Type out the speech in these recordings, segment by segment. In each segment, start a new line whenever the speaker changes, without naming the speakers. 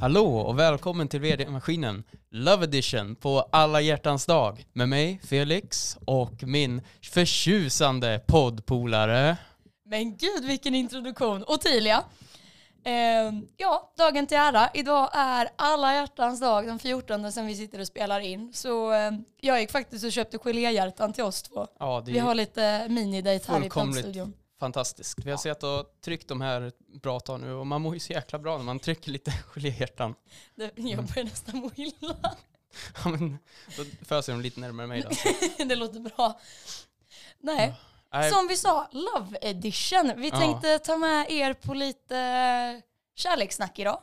Hallå och välkommen till VD-maskinen Love Edition på alla hjärtans dag med mig Felix och min förtjusande poddpolare.
Men gud vilken introduktion! Ottilia. Eh, ja, dagen till ära. Idag är alla hjärtans dag, den 14 som vi sitter och spelar in. Så eh, jag gick faktiskt och köpte geléhjärtan till oss två.
Ja, det
Vi har lite minidejt här i
fullkomligt.
poddstudion.
fantastiskt. Vi har sett och tryckt de här ett bra tag nu och man mår ju så jäkla bra när man trycker lite geléhjärtan.
Det-
Mm.
Jag börjar nästan må illa.
Ja, men då föser de lite närmare mig då. Så,
Det låter bra. Nej,
nej,
som vi sa, Love Edition. Vi
Ja.
tänkte ta med er på lite kärlekssnack idag.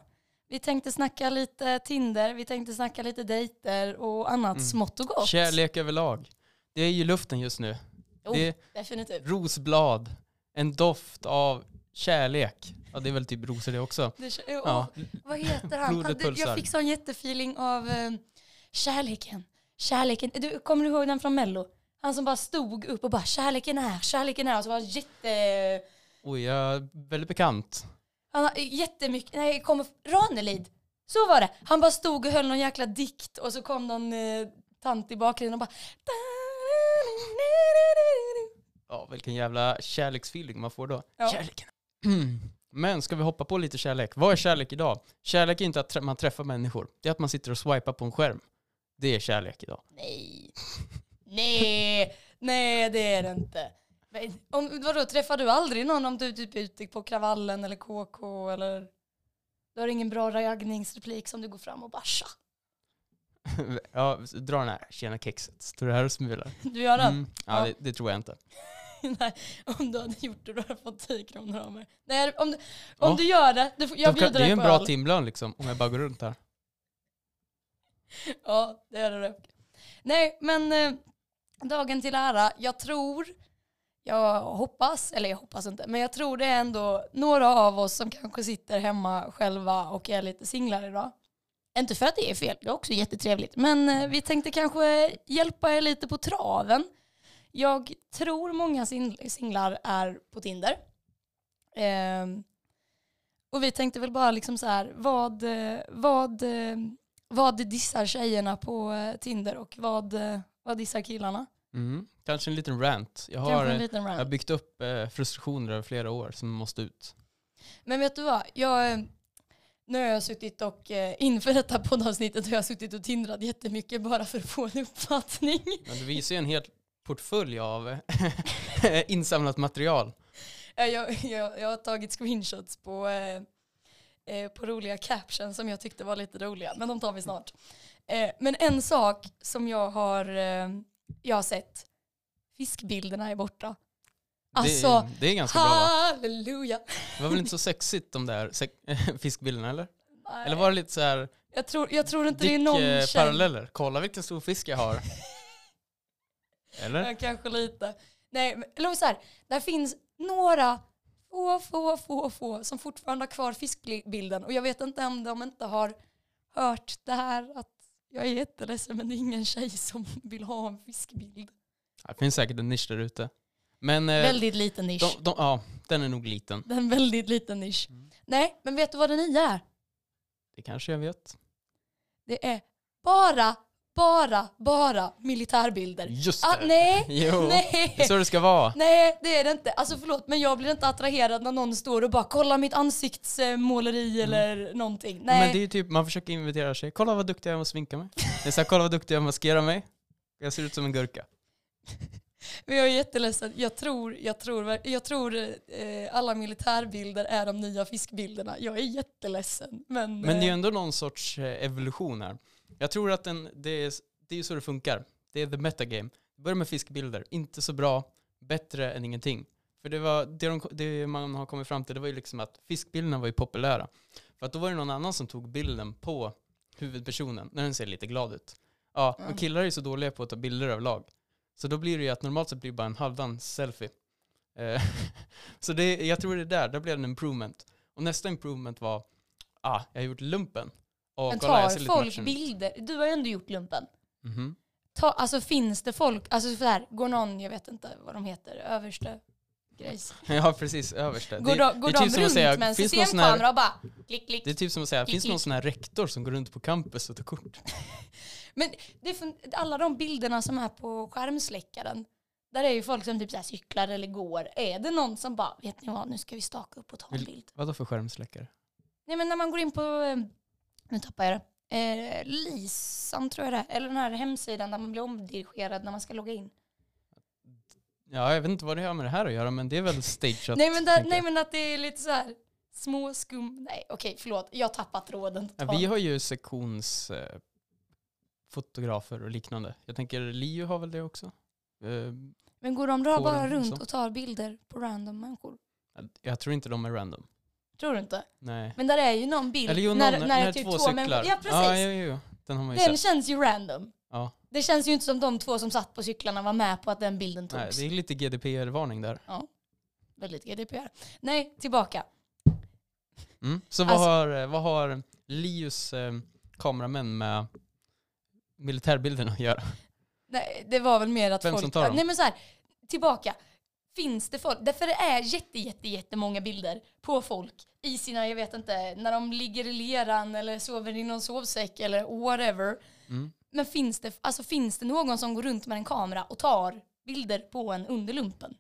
Vi tänkte snacka lite Tinder, vi tänkte snacka lite dejter och annat
Mm.
smått och gott.
kärlek överlag. Det är ju luften just nu.
Jo,
Det är
Oh, definitivt.
rosblad, en doft av kärlek. Ja, det är väl typ rosor det också.
Det, kö-
Ja.
åh, vad heter han?
Blodet
han du,
pulsar.
jag fick sån jättefeeling av eh, kärleken. Kärleken. Du, kommer du ihåg den från Mello? Han som bara stod upp och bara kärleken är, kärleken är. Och så var han jätte...
Oj, jag är väldigt bekant.
Han har eh, jättemycket... Nej, kommer... Ranelid. Så var det. Han bara stod och höll någon jäkla dikt och så kom någon eh, tant i bakgrunden och bara...
Ja, vilken jävla kärleksfeeling man får då.
Ja.
Kärleken. Men ska vi hoppa på lite kärlek? Vad är kärlek idag? Kärlek är inte att trä- man träffar människor. Det är att man sitter och swipar på en skärm. Det är kärlek idag.
Nej. Nej. Nej, det är det inte. Men Om, vadå, träffar du aldrig någon om du typ är ute på kravallen eller KK eller? Du har ingen bra raggningsreplik som du går fram och bara tja.
ja, dra den här. Tjena kexet. Står du här och smular?
Du gör den?
Mm. Ja,
Ja.
det, det tror jag inte.
Nej, om du hade gjort det då hade du fått 10 kronor av mig. Nej, om du, om
Ja.
du gör det, du, får- jag
De kan,
bjuder
det
dig
är ju en
på
bra
öl.
timlön liksom, om jag bara går runt här.
Ja, det är det. dock. Nej, men eh, dagen till ära. Jag tror, jag hoppas, eller jag hoppas inte, men jag tror det är ändå några av oss som kanske sitter hemma själva och är lite singlar idag. Inte för att det är fel, det är också jättetrevligt, men eh, vi tänkte kanske hjälpa er lite på traven. Jag tror många sin- singlar är på Tinder. Ehm, och vi tänkte väl bara liksom så här, vad, eh, vad eh, vad dissar tjejerna på eh, Tinder och vad, eh, vad dissar killarna?
Mm. Kanske en liten rant. Jag har,
Kanske en
eh,
liten
jag har
rant.
byggt upp eh, frustrationer över flera år som måste ut.
Men vet du vad? Jag, eh, nu har jag suttit och eh, inför detta poddavsnittet har jag suttit och tindrat jättemycket bara för att få en uppfattning.
Men du visar ju en hel portfölj av insamlat material.
Eh, Jag, jag, jag har tagit screenshots på, eh, eh, på roliga captions som jag tyckte var lite roliga, men de tar vi snart. Eh, men en sak som jag har, eh, jag har sett, fiskbilderna är borta. Alltså,
det, det är ganska bra va?
halleluja!
Det var väl inte så sexigt de där sek- fiskbilderna eller? Eller eh, var det lite så här
Jag tror, jag tror inte det är någon tjej.
dick-paralleller? Kolla vilken stor fisk jag har. Eller?
Ja, kanske lite. Nej, men, eller så här, där finns några få, få, få, få som fortfarande har kvar fiskbilden. Och jag vet inte om de inte har hört det här att jag är jätteledsen men det är ingen tjej som vill ha en fiskbild.
Ja, Det finns säkert en nisch där ute. Men eh,
väldigt liten nisch.
de, de, ja, den är nog liten.
Det är en väldigt liten nisch.
Mm.
Nej, men vet du vad den nya är?
Det kanske jag vet.
Det är bara, bara, bara militärbilder.
Just det!
Ah, nej,
Jo,
nej.
det är så det ska vara.
Nej, det är det inte. Alltså förlåt, men jag blir inte attraherad när någon står och bara kolla mitt ansiktsmåleri eller någonting. Nej.
Mm. Men det är ju typ, man försöker invitera sig. Kolla vad duktig jag är med att sminka mig. Det är så här, kolla vad duktig jag är med att maskera mig. Jag ser ut som en gurka.
Men jag är jätteledsen. Jag tror, jag tror, ver- jag tror eh, alla militärbilder är de nya fiskbilderna. Jag är jätteledsen. Men,
Men det är ju
eh,
ändå någon sorts eh, evolution här. Jag tror att den, det, är, det är ju så det funkar. Det är the metagame. Börja med fiskbilder. Inte så bra, bättre än ingenting. För det, var, det, de, det man har kommit fram till det var ju liksom att fiskbilderna var ju populära. För att då var det någon annan som tog bilden på huvudpersonen när den ser lite glad ut. Ja, men
Mm.
killar är ju så dåliga på att ta bilder överlag. Så då blir det ju att normalt sett blir det bara en halvdan selfie. Eh, så det, jag tror det är där, där blev det en improvement. Och nästa improvement var, ah, jag har gjort lumpen. Och
men
kolla, jag
tar
ser lite
folk
matchen ut.
bilder? Du har ju ändå gjort lumpen.
Mhm.
Ta, alltså finns det folk, alltså så här, går någon, jag vet inte vad de heter, överste, grejs.
ja, precis. Överst där.
Går
det,
de, går
det är
de
typ som att
runt
säga,
med en
finns det någon sån här-
systemkamera och bara klick, klick?
det är typ som att säga,
Klick,
finns det någon
klick.
sån här rektor som går runt på campus och tar kort?
Men det är fun- alla de bilderna som är på skärmsläckaren, där är ju folk som typ så här cyklar eller går. Är det någon som bara, vet ni vad, nu ska vi staka upp och ta en
Vill-
bild?
Vadå för skärmsläckare?
Nej men när man går in på, eh, nu tappar jag det, eh, Lisan tror jag det är, eller den här hemsidan där man blir omdirigerad när man ska logga in.
Ja, jag vet inte vad det har med det här att göra, men det är väl stageat.
nej, men där,
tänker
nej
jag.
men att det är lite så här små skum, nej okej förlåt, jag har tappat tråden
Ja,
totalt.
vi har ju sektions eh, fotografer och liknande. Jag tänker Leo har väl det också. Eh,
Men går de då
Får
bara
den,
runt
så.
och tar bilder på random människor?
jag tror inte de är random.
Tror du inte?
Nej.
Men där är ju någon bild
Eller jo, någon,
när,
när,
när, det är typ två,
två cyklar.
människor. Ja precis.
Ja, jo, jo, jo. Den har man ju
Den
sett.
känns ju random.
Ja.
Det känns ju inte som de två som satt på cyklarna var med på att den bilden togs.
Nej, det är lite GDPR-varning där.
Väldigt GDPR. Nej, tillbaka.
Mm. Så vad,
Alltså-
har, eh, vad har Lius eh, kameramän med militärbilderna att göra?
Nej, det var väl mer att
Vem
folk...
som tar dem?
Nej men så här, tillbaka. Finns det folk? Därför det är jätte, jätte, jättemånga bilder på folk i sina, jag vet inte, när de ligger i leran eller sover i någon sovsäck eller whatever.
Mm.
Men finns det, alltså, finns det någon som går runt med en kamera och tar bilder på en under lumpen?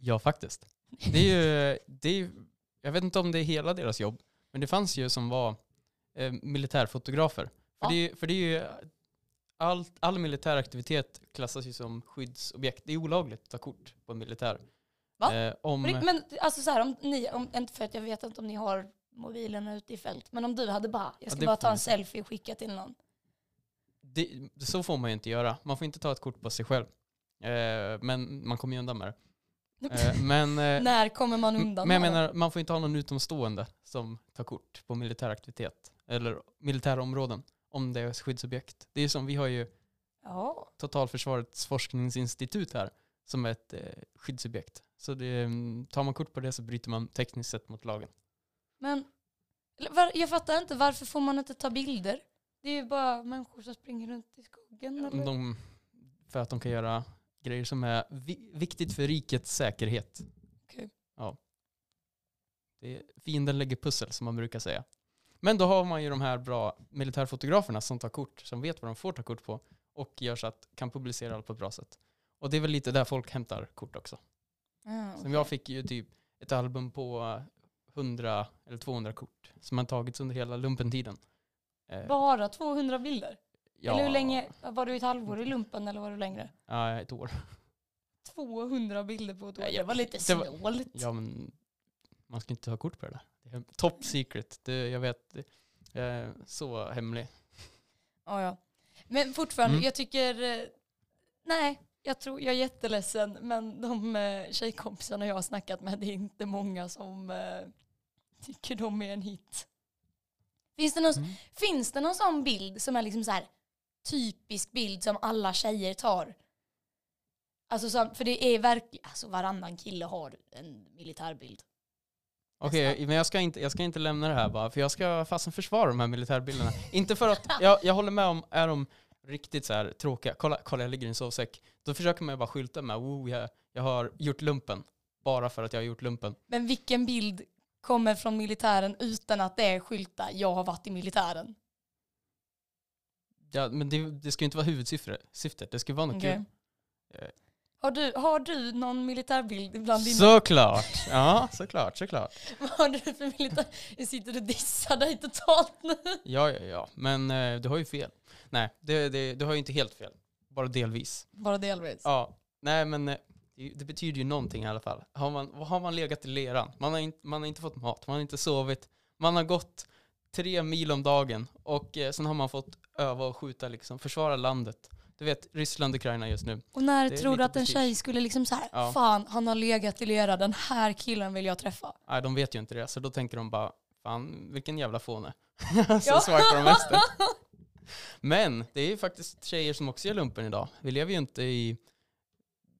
Ja, faktiskt. Det är ju, det är, ju- jag vet inte om det är hela deras jobb, men det fanns ju som var eh, militärfotografer. För,
Ja.
det, är ju- för det är ju, allt, all militär aktivitet klassas ju som skyddsobjekt. Det är olagligt att ta kort på en militär.
Va?
Eh, om,
Men- Men alltså så här, om ni, om, inte för att jag vet inte om ni har mobilerna ute i fält, men om du hade bara, jag
Ja,
ska
det
bara
får
ta
man
en
inte.
selfie och skicka till någon.
det, så får man ju inte göra. Man får inte ta ett kort på sig själv. Eh, men man kommer ju undan med det. Eh, men, eh,
När kommer man undan?
Men jag
med det?
menar, man får inte ha någon utomstående som tar kort på militär aktivitet eller militära områden om det är skyddsobjekt. Det är ju som, vi har ju
Ja.
Totalförsvarets forskningsinstitut här som är ett eh, skyddsobjekt. Så det, mm, tar man kort på det så bryter man tekniskt sett mot lagen.
Men eller var, jag fattar inte, varför får man inte ta bilder? Det är ju bara människor som springer runt i skogen. Eller?
De, för att de kan göra grejer som är vi, viktigt för rikets säkerhet.
Okej.
Ja. Det är, fienden lägger pussel som man brukar säga. Men då har man ju de här bra militärfotograferna som tar kort, som vet vad de får ta kort på och gör så att kan publicera allt på ett bra sätt. Och det är väl lite där folk hämtar kort också.
Ja,
Som
Ah, okej.
jag fick ju typ ett album på eh, 100 eller 200 kort som har tagits under hela lumpentiden. Eh,
Bara 200 bilder?
ja,
Eller hur länge, var du ett halvår i lumpen eller var du längre?
Ja, ett år.
200 bilder på ett år,
Ja, jag
det var lite
det var-
snålt.
Ja, men man ska inte ha kort på det där. Det är top secret. Det, jag vet, det, jag är så hemlig.
Ja, ja. Men fortfarande,
Mm.
jag tycker... eh, Nej, jag, tror, jag är jätteledsen, men de eh, tjejkompisarna jag har snackat med, det är inte många som eh, tycker de är en hit. Finns det, någon,
Mm.
finns det någon sån bild som är liksom så här typisk bild som alla tjejer tar? Alltså som, för det är verkligen, alltså varannan kille har en militärbild.
Okej, men jag ska, inte, jag ska inte lämna det här bara, för jag ska fasen försvara de här militärbilderna. inte för att, jag, jag håller med om, är de riktigt så här tråkiga, kolla, kolla jag ligger i en sovsäck, då försöker man ju bara skylta med, oh, jag, jag har gjort lumpen, bara för att jag har gjort lumpen.
Men vilken bild kommer från militären utan att det är skylta, jag har varit i militären?
Ja, men det, det ska ju inte vara huvudsyftet, det ska ju vara något
Okej.
kul. Eh.
Har, du, har du någon militärbild bland dina?
Såklart! Ja, såklart, såklart.
Vad har du för militär? Jag sitter och dissar dig totalt nu.
Ja, ja, ja. Men eh, du har ju fel. Nej, det, det, du har ju inte helt fel. Bara delvis.
Bara delvis.
Ja, nej men eh, det, det betyder ju någonting i alla fall. Har man, har man legat i leran, man har, inte, man har inte fått mat, man har inte sovit, man har gått tre mil om dagen och eh, sen har man fått öva och skjuta liksom, försvara landet. Du vet, Ryssland, Ukraina just nu.
Och när
Det är
tror du
lite
att en
prestige.
tjej skulle liksom så här,
Ja.
fan han har legat i lera, den här killen vill jag träffa.
Nej, de vet ju inte det, så då tänker de bara, fan vilken jävla fåne. så
Ja.
swipar de vänster. Men det är ju faktiskt tjejer som också gör lumpen idag. Vi lever ju inte i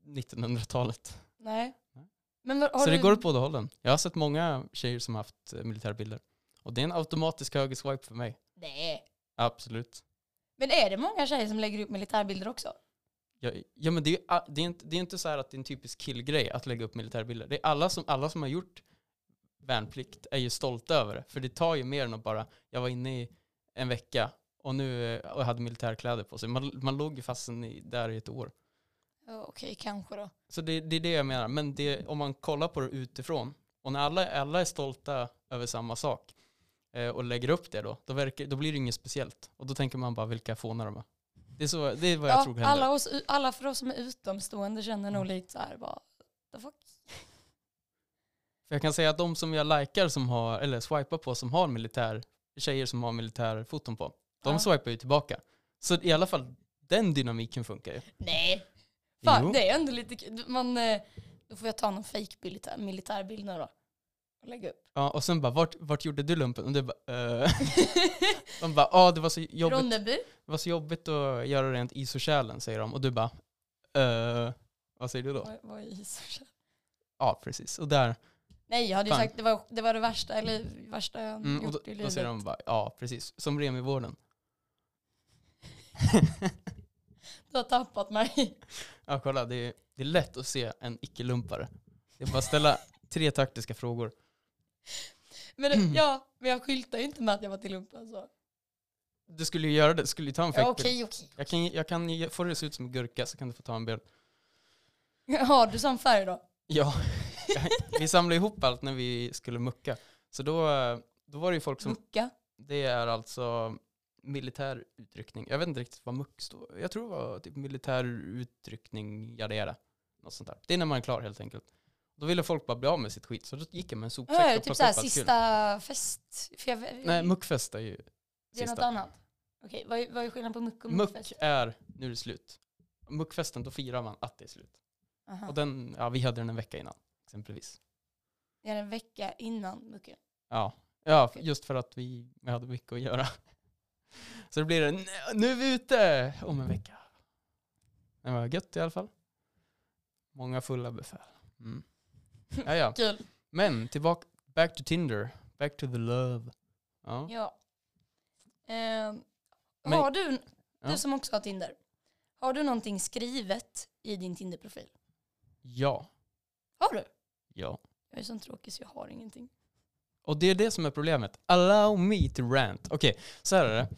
1900-talet.
Nej.
Nej.
Men vad- har
Så
du...
det går åt båda hållen. Jag har sett många tjejer som haft eh, militärbilder. Och det är en automatisk högerswipe för mig.
Nej.
Absolut.
Men är det många tjejer som lägger upp militärbilder också?
Ja, ja men det är, ju a- det, är inte, det är inte så här att det är en typisk killgrej att lägga upp militärbilder. Det är alla som, alla som har gjort värnplikt är ju stolta över det. För det tar ju mer än att bara, jag var inne i en vecka och nu eh, och hade militärkläder på sig. Man, man låg ju fast i- där i ett år.
Ja, Okej, kanske då.
Så det, det är det jag menar. Men det, om man kollar på det utifrån, och när alla, alla är stolta över samma sak eh, och lägger upp det då, då, verkar, då blir det inget speciellt. Och då tänker man bara vilka fånar de är. Det är, så, det är vad jag tror händer. Mm.
alla, oss, alla för oss som är utomstående känner nog lite så här bara, the fuck?
För jag kan säga att de som jag likar som har, eller swipar på som har militär, tjejer som har militärfoton på, de
Ja.
swipar ju tillbaka. Så i alla fall den dynamiken funkar ju.
Nej. Fan,
Jo.
det är ändå lite kul. Man, eh, då får jag ta någon fake militär, militärbild nu då. Och lägga upp.
Ja, och sen bara, vart, vart gjorde du lumpen? Och du bara, eh. De bara, ja ah, det var så jobbigt
Ronneby.
Det var så jobbigt att göra rent isokärlen, säger de. Och du bara, eh, vad säger du då?
Vad- vad är isokärl?
Ja, precis. Och där,
Nej, jag hade ju
Fan.
sagt det var det, var det värsta, eller, värsta jag
mm, och
gjort
då,
i
då
livet.
säger de bara, ja, precis. Som Remivården.
Du har tappat mig.
Ja, kolla, det är, det är lätt att se en icke-lumpare. Det är bara att ställa tre taktiska frågor.
Men, det-
Mm.
ja, men jag skyltar ju inte med att jag var till lumpen. Så.
Du skulle ju göra det, du skulle ju ta en
Ja,
fake bild.
okej, okej.
jag kan, jag kan ju- få det att se ut som en gurka så kan du få ta en bild.
Har du sån färg då?
Ja, vi samlade ihop allt när vi skulle mucka. Så då, eh, då var det ju folk som
Mucka?
Det är alltså militär utryckning. Jag vet inte riktigt vad muck står Jag tror det var typ militär utryckning, jada jada. Något sånt där. Det är när man är klar helt enkelt. Då ville folk bara bli av med sitt skit så då gick jag med en sopsäck
Ja,
och
typ
plockade
såhär
upp allt kul.
sista fest. För jag,
Nej, muckfest är ju
det är något
sista.
annat. Okej, vad, är- vad är skillnaden på muck och
Muck
muckfest?
är, nu är det slut. Muckfesten, då firar man att det är slut.
Aha.
Och den, ja vi hade den en vecka innan, exempelvis.
Det är en vecka innan mucken.
Ja, ja f- just för att vi, vi hade mycket att göra. Så det blir det, "N- nu är vi ute om en vecka. Men vad gött i alla fall. Många fulla befäl. Mm. Ja, ja.
Kul.
Men tillbaka, back to Tinder, back to the love. Ja.
Ja. Ehm,
Men-
har du,
Ja.
du som också har Tinder, har du någonting skrivet i din Tinder-profil?
ja,
Har du?
ja.
Jag är sån tråkig så jag har ingenting.
Och det är det som är problemet. Allow me to rant. Okej, så här är det.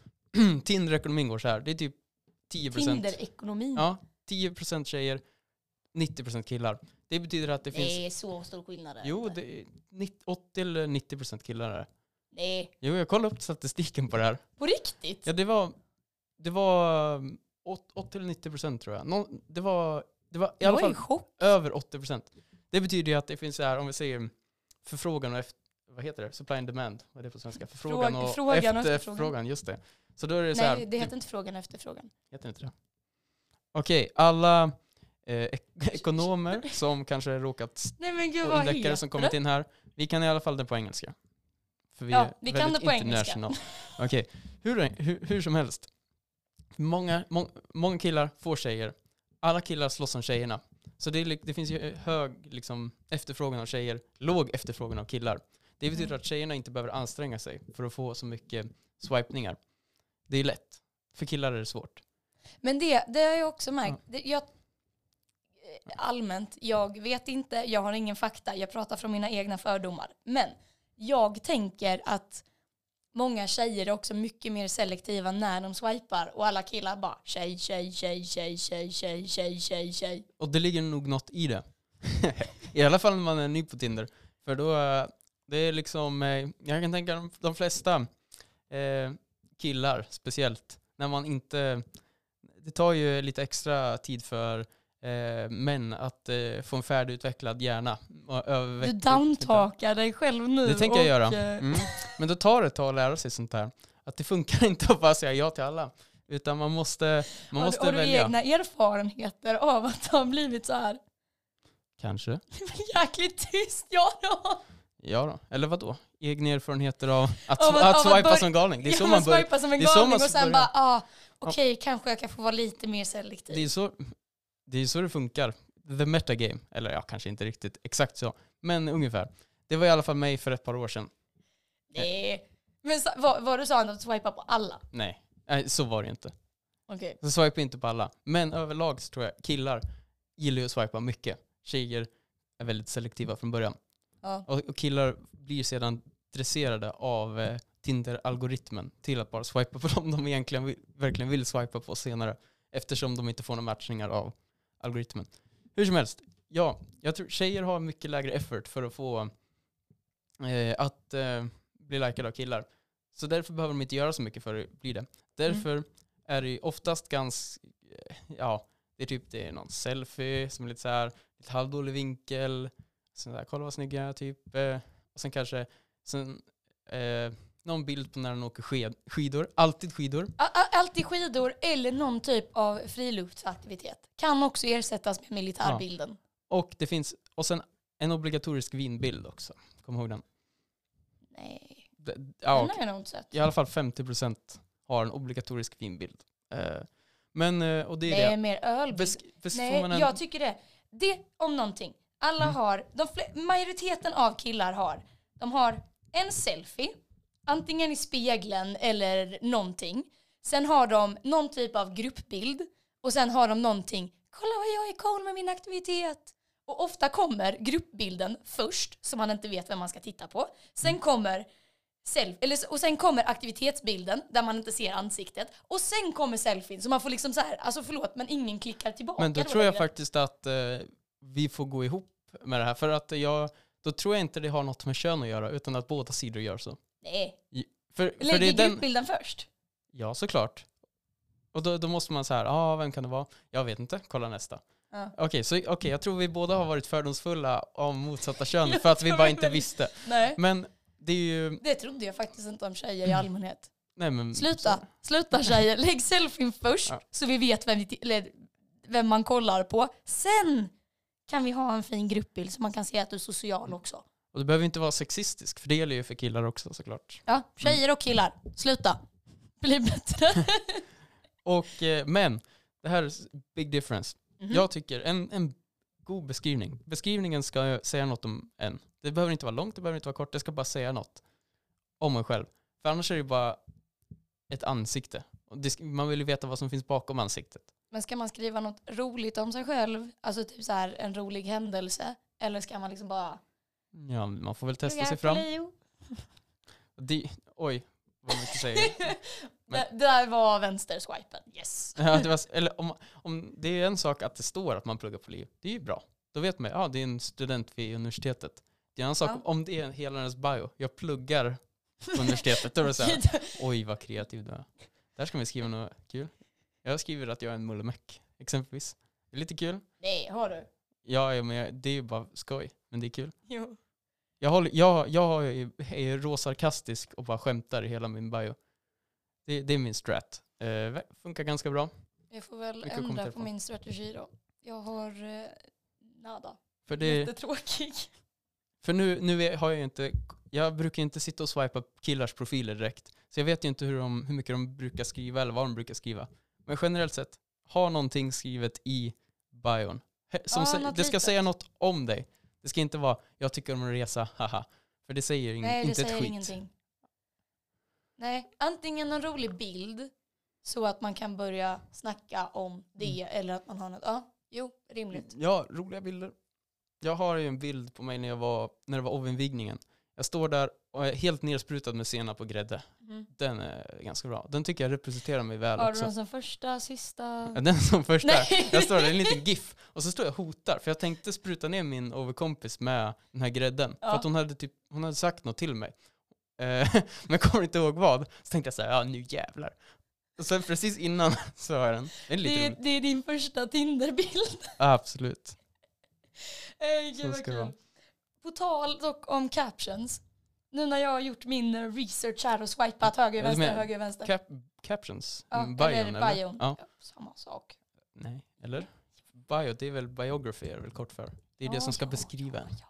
Tinder-ekonomin går så här. Det är typ 10%.
Tinder-ekonomin.
Ja, 10% tjejer, 90% killar. Det betyder att det finns...
Det är så stor skillnad. där.
Jo, det är 90 80 eller 90 procent killar är det.
Nej,
Jo, jag kollade upp statistiken på det här.
på riktigt?
Ja, det var, det var um, åt- 80 eller 90 procent tror jag. Nå, det, var, det var i alla
jag är
fall
i chock.
över 80 procent. Det betyder ju att det finns så här, om vi säger förfrågan och efter, vad heter det? Supply and demand, vad är det på svenska? Förfrågan och,
frågan och efterfrågan.
efterfrågan, just det. Så då är det så här, typ-
Nej, det heter inte frågan efter frågan.
Heter inte det? Okej, alla eh, ek- ekonomer som kanske råkat
Nej men gud
och
vad
deckare
heter
som
det?
kommit in här. Vi kan i alla fall den på engelska. För vi
Ja,
är
vi kan
väldigt
det på engelska.
international. Okej, hur, hur, hur som helst. Många, må, många killar får tjejer. Alla killar slåss om tjejerna. Så det, är, li- det finns ju hög liksom, efterfrågan av tjejer, låg efterfrågan av killar. Det betyder
Mm.
att tjejerna inte behöver anstränga sig för att få så mycket swipningar. Det är lätt. För killar är det svårt.
Men det, det har jag också märkt. Det, jag, eh, allmänt, jag vet inte, jag har ingen fakta, jag pratar från mina egna fördomar. Men jag tänker att många tjejer är också mycket mer selektiva när de swipar och alla killar bara tjej, tjej, tjej, tjej, tjej, tjej, tjej, tjej, tjej.
Och det ligger nog något i det. I alla fall när man är ny på Tinder. För då, eh, det är liksom, eh, jag kan tänka de, de flesta eh, killar speciellt, när man inte, det tar ju lite extra tid för eh, män att eh, få en färdigutvecklad hjärna. Och
Du
överveck-
downtalkar dig själv nu.
Det tänker jag göra.
eh,
Mm. Men då tar det ett tag att lära sig sånt här. Att det funkar inte att bara säga ja till alla. Utan man måste, Mm. man
har,
måste
du- har du
välja.
egna erfarenheter av att ha blivit så här
Kanske.
jäkligt tyst? Ja, då.
Ja då. eller vadå? Egna erfarenheter av att,
Av att-
att,
av att
swipa
börja-
som galning. Det är, så
Ja,
man börjar,
swipar som en
det är så
galning
man
och
börjar.
sen bara, ah, okej, kanske jag kan få vara lite mer selektiv.
det, är så, det är så det funkar. The metagame. Eller ja, kanske inte riktigt exakt så. Men ungefär. Det var i alla fall mig för ett par år sedan.
Nej. Men sa- var, var du sa att swipa på alla?
Nej, Nej så var det inte.
Okej.
Så swipa inte på alla. Men överlag så tror jag killar gillar ju att swipa mycket. Tjejer är väldigt selektiva från början.
Ja.
Och, och killar blir ju sedan dresserade av eh, Tinder-algoritmen till att bara swipa på dem de egentligen vill, verkligen vill swipa på senare. Eftersom de inte får några matchningar av algoritmen. Hur som helst, ja, jag tror tjejer har mycket lägre effort för att få eh, att eh, bli likade av killar. Så därför behöver de inte göra så mycket för att bli det. Därför är det ju oftast ganska, ja, det är typ det är någon selfie som är lite så här, lite halvdålig vinkel, sån där, kolla vad snygg jag är typ. Eh, och sen kanske, sen, eh, någon bild på när den åker sked, skidor, alltid skidor.
A- a- Alltid skidor eller någon typ av friluftsaktivitet. Kan också ersättas med militärbilden.
Och det finns, och sen en obligatorisk vinbild också. Kom ihåg den.
Nej,
Det- Ja,
den har jag nog inte sett.
i alla fall 50% har en obligatorisk finbild. Eh, men, eh, och det är
Det är
det.
mer öl.
Besk- bes- får
Nej,
man en,
jag tycker det. Det om någonting. Alla
Mm.
har, de fle- majoriteten av killar har, de har en selfie, antingen i spegeln eller någonting. Sen har de någon typ av gruppbild och sen har de någonting, kolla vad jag är cool med min aktivitet. Och ofta kommer gruppbilden först, så man inte vet vem man ska titta på. Sen kommer self, eller, s- och sen kommer aktivitetsbilden där man inte ser ansiktet. Och sen kommer selfien så man får liksom så här, alltså förlåt men ingen klickar tillbaka.
men då
Det var
tror jag
längre.
faktiskt att eh, vi får gå ihop med det här. För att jag, då tror jag inte det har något med kön att göra, utan att båda sidor gör så.
Nej,
För, för det
lägger
är den,
gruppbilden först.
Ja, såklart. Och då, då måste man så här, ah, vem kan det vara? Jag vet inte, kolla nästa.
Ja.
Okej, så okej, jag tror vi båda har varit fördomsfulla om motsatta kön för att vi bara inte visste.
Nej.
Men det är ju,
Det trodde jag faktiskt inte om tjejer i
Mm.
allmänhet.
nej men.
Sluta, sluta tjejer. Lägg selfien först
Mm, Ja.
så vi vet vem, vi ti- eller vem man kollar på. Sen kan vi ha en fin gruppbild så man kan se att du är social
Mm.
också.
Och du behöver inte vara sexistisk, för det gäller ju för killar också såklart.
Ja, tjejer och killar, sluta. Bli bättre.
Och, eh, men, det här är s- big difference.
Mhm.
Jag tycker en, en god beskrivning. Beskrivningen ska ju säga något om en. Det behöver inte vara långt, det behöver inte vara kort, det ska bara säga något om en själv. För annars är det ju bara ett ansikte. Och det sk- Man vill ju veta vad som finns bakom ansiktet.
Men ska man skriva något roligt om sig själv, alltså typ så här en rolig händelse, eller ska man liksom bara
Ja, man får väl testa sig fram. Det, oj, vad mycket säger jag.
det, det där var vänsterswipen, yes.
Ja, det var, s- eller om, om det är en sak att det står att man pluggar på liv, det är ju bra. Då vet man, ja det är en student vid universitetet. Det är en sak,
Ja.
om det är hela hennes bio, jag pluggar på universitetet, då är det så här, oj vad kreativ du är. Där ska vi skriva något kul. Jag skriver att jag är en mullemäck, exempelvis. Det är lite kul.
Nej, har du?
Ja, ja, men jag, det är ju bara skoj, men det är kul.
Jo.
Jag, håller, jag, jag är, är råsarkastisk och bara skämtar i hela min bio. Det, det är min strat. Eh, funkar ganska bra.
Jag får väl
Mycket att
ändra
kommentera
på
på.
min strategi då. Jag har eh, nada.
För det,
Jättetråkig.
För nu, nu är- har jag ju inte, jag brukar inte sitta och swipa killars profiler direkt. Så jag vet ju inte hur, de, hur mycket de brukar skriva eller vad de brukar skriva. Men generellt sett, ha någonting skrivet i bion. He- Som
Ja,
sä-
något
det ska
litet.
säga något om dig. Det ska inte vara, jag tycker om att resa, haha. För det säger ing,
Nej, det
inte ett
säger
skit.
ingenting. Nej, antingen någon rolig bild så att man kan börja snacka om det
Mm.
eller att man har något, ja, jo, rimligt.
Ja, roliga bilder. Jag har ju en bild på mig när, jag var, när det var ovinvigningen. Jag står där och är helt nersprutad med senap och grädde.
Mm.
Den är ganska bra. Den tycker jag representerar mig väl
Har du
också.
den som första, sista?
Ja, Den som första.
Nej.
Jag står där, det är en liten GIF. Och så står jag och hotar, för jag tänkte spruta ner min overkompis med den här grädden.
Ja.
För att hon hade, typ, hon hade sagt något till mig. Eh, men jag kommer inte ihåg vad. Så tänkte jag så här, ja nu jävlar. Och sen precis innan så har jag den. Den är lite
Det är,
rolig.
det är din första Tinderbild.
Absolut.
Ej,
Så
gud vad
ska det
kul.
vara.
På tal dock om captions. Nu när jag har gjort min eh, research här och swipat höger,
Ja, du
vänster,
menar
höger, vänster.
Cap captions?
Ja,
Mm, bion,
eller
eller?
bion.
Ja.
Ja, samma sak.
Nej, eller? Bio, det är väl biography är det väl kort för. Det är det
Ja,
som ska
ja,
beskriva
ja,
en.
ja.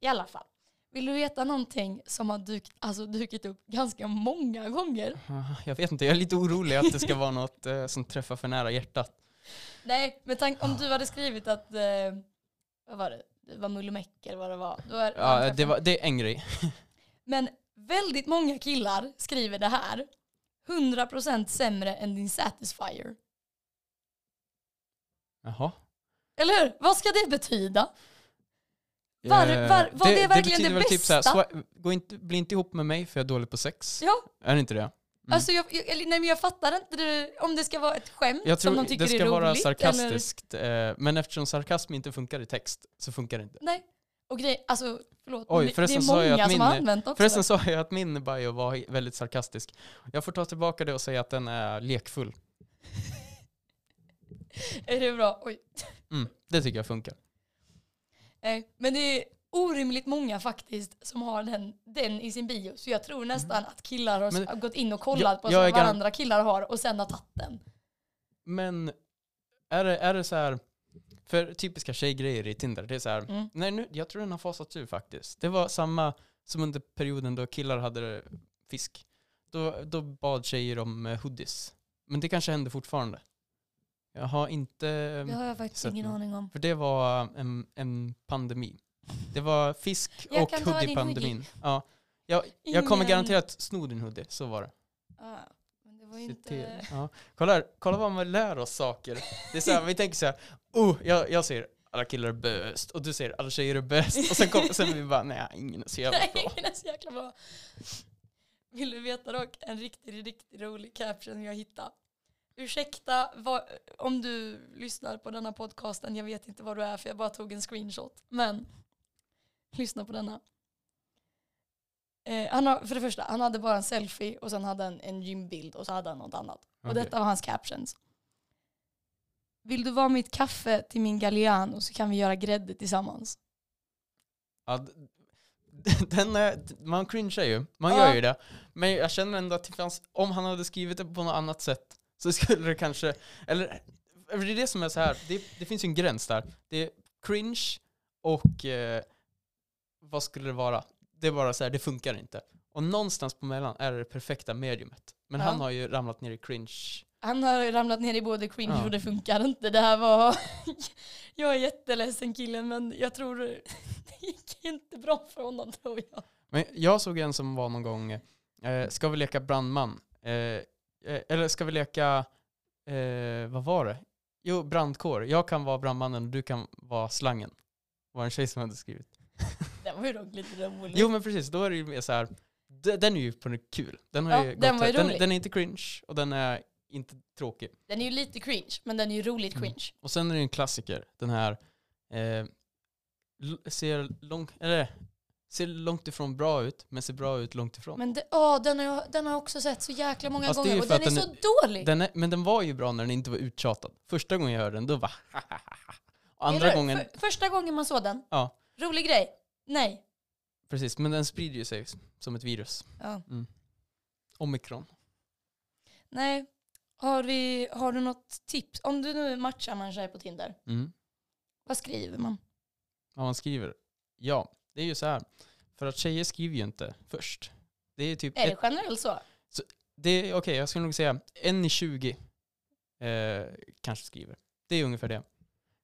I alla fall. Vill du veta någonting som har dykt, alltså, dykt upp ganska många gånger?
Ah, Jag vet inte, jag är lite orolig att det ska vara något eh, som träffar för nära hjärtat.
Nej, men tank, om du hade skrivit att, eh, vad var det, det var mullemäck eller vad det var. Då är,
Ja, eh, det, var, det är en grej.
Men väldigt många killar skriver det här. 100% sämre än din Satisfyer.
Jaha.
Eller hur? Vad ska det betyda? Var-
Eh,
var- var det verkligen
betyder
det
väl Typ så här,
bästa?
swi- gå inte, bli inte ihop med mig för jag är dålig på sex.
Ja,
Är det inte det? Mm.
alltså jag, jag, eller, nej, men jag fattar inte det, om det ska vara ett skämt
Jag
som
tror
de tycker
det ska
är roligt.
vara
Eller,
sarkastiskt, eh, men eftersom sarkasm inte funkar i text så funkar det inte.
nej. Och grej, alltså förlåt,
Oj,
men det- det
förresten
är
sa jag
många
att
som har
min-
använt också.
Förresten sa jag att min bio var väldigt sarkastisk. Jag får ta tillbaka det och säga att den är lekfull.
Är det bra? Oj.
Mm, det tycker jag funkar.
Nej, men det är orimligt många faktiskt som har den, den i sin bio. Så jag tror nästan att killar har
Mm. Men-
s- gått in och kollat
Jag-
på
jag är
vad
garan-
andra killar har och sen har tagit den.
Men är det, är det så här, för typiska tjejgrejer i Tinder, det är så här,
Mm.
nej nu, jag tror den har fasats ur faktiskt. Det var samma som under perioden då killar hade fisk. Då, då bad tjejer om eh, hoodies. Men det kanske händer fortfarande. Jag har inte...
Det har jag faktiskt
sett
ingen
någon.
aning om.
För det var en, en pandemi. Det var fisk
Jag
och
kan ta din
hoodie-pandemin. Ja. Jag, jag kommer
Ingen-
garanterat sno din hoodie, så var det.
Ja, men det var ju
Se
inte...
till. Ja. Kolla, här, kolla vad man lär oss saker. Det är så här, vi tänker så här, oh, jag, jag säger alla killar är bäst och du säger alla tjejer är bäst och sen, kom, sen vi bara nej, ingen är så jävla
Nej,
bra.
det är så jäkla bra. Vill du veta dock en riktigt, riktigt rolig caption jag hittade? Ursäkta vad, om du lyssnar på denna podcasten, jag vet inte vad du är för jag bara tog en screenshot. Men lyssna på denna. Eh, han har, för det första, han hade bara en selfie och sen hade han en gymbild och så hade han något annat. Och
Okej.
detta var hans captions. Vill du vara mitt kaffe till min Galliano så kan vi göra grädde tillsammans.
Ja, d- den är, man cringear ju, man
Ja.
gör ju det. Men jag känner ändå att det fanns, om han hade skrivit det på något annat sätt så skulle det kanske, eller för det är det som är så här, det, det finns ju en gräns där. Det är cringe och eh, vad skulle det vara? Det är bara så här, det funkar inte. Och någonstans på mellan är det det perfekta mediumet. Men
Ja.
han har ju ramlat ner i cringe.
Han har ramlat ner i både cringe
Ja.
och det funkar inte. Det här var... jag är jätteledsen killen men jag tror det gick inte bra för honom tror jag.
Men jag såg en som var någon gång, eh, ska vi leka brandman? Eh, eh, eller ska vi leka, eh, vad var det? Jo, brandkår. Jag kan vara brandmannen och du kan vara slangen. Var en tjej som hade skrivit.
Mm. Den var ju dock lite rolig.
Jo men precis, då är det ju mer så här. d- den är ju på något kul. Den, har
Ja,
ju
den
gått
var ju
här. den,
rolig.
den är inte cringe och den är inte tråkig.
Den är ju lite cringe men den är ju roligt
Mm.
cringe.
Och sen är det en klassiker, den här eh, l- ser, lång, eller, ser långt ifrån bra ut, men ser bra ut långt ifrån.
Men det, åh, den, har jag, den har jag också sett så jäkla många
Fast det är ju
gånger och
för
den
att
är
den
så dålig.
Den är, men den var ju bra när den inte var uttjatad. Första gången jag hörde den, då bara Och
Eller
Andra
hur?
gången,
För, första gången man såg den,
ja
rolig grej. Nej.
precis. Men den sprider ju sig som ett virus.
Ja.
Omikron.
Nej. Har, vi, har du något tips? Om du nu matchar med en tjej på Tinder,
Mm.
vad skriver man?
Vad man skriver. Ja, det är ju så här. För att tjejer skriver ju inte först. Det är typ,
Är
ett,
det generellt så?
det är, okej jag skulle nog säga en i 20 eh, kanske skriver. Det är ungefär det.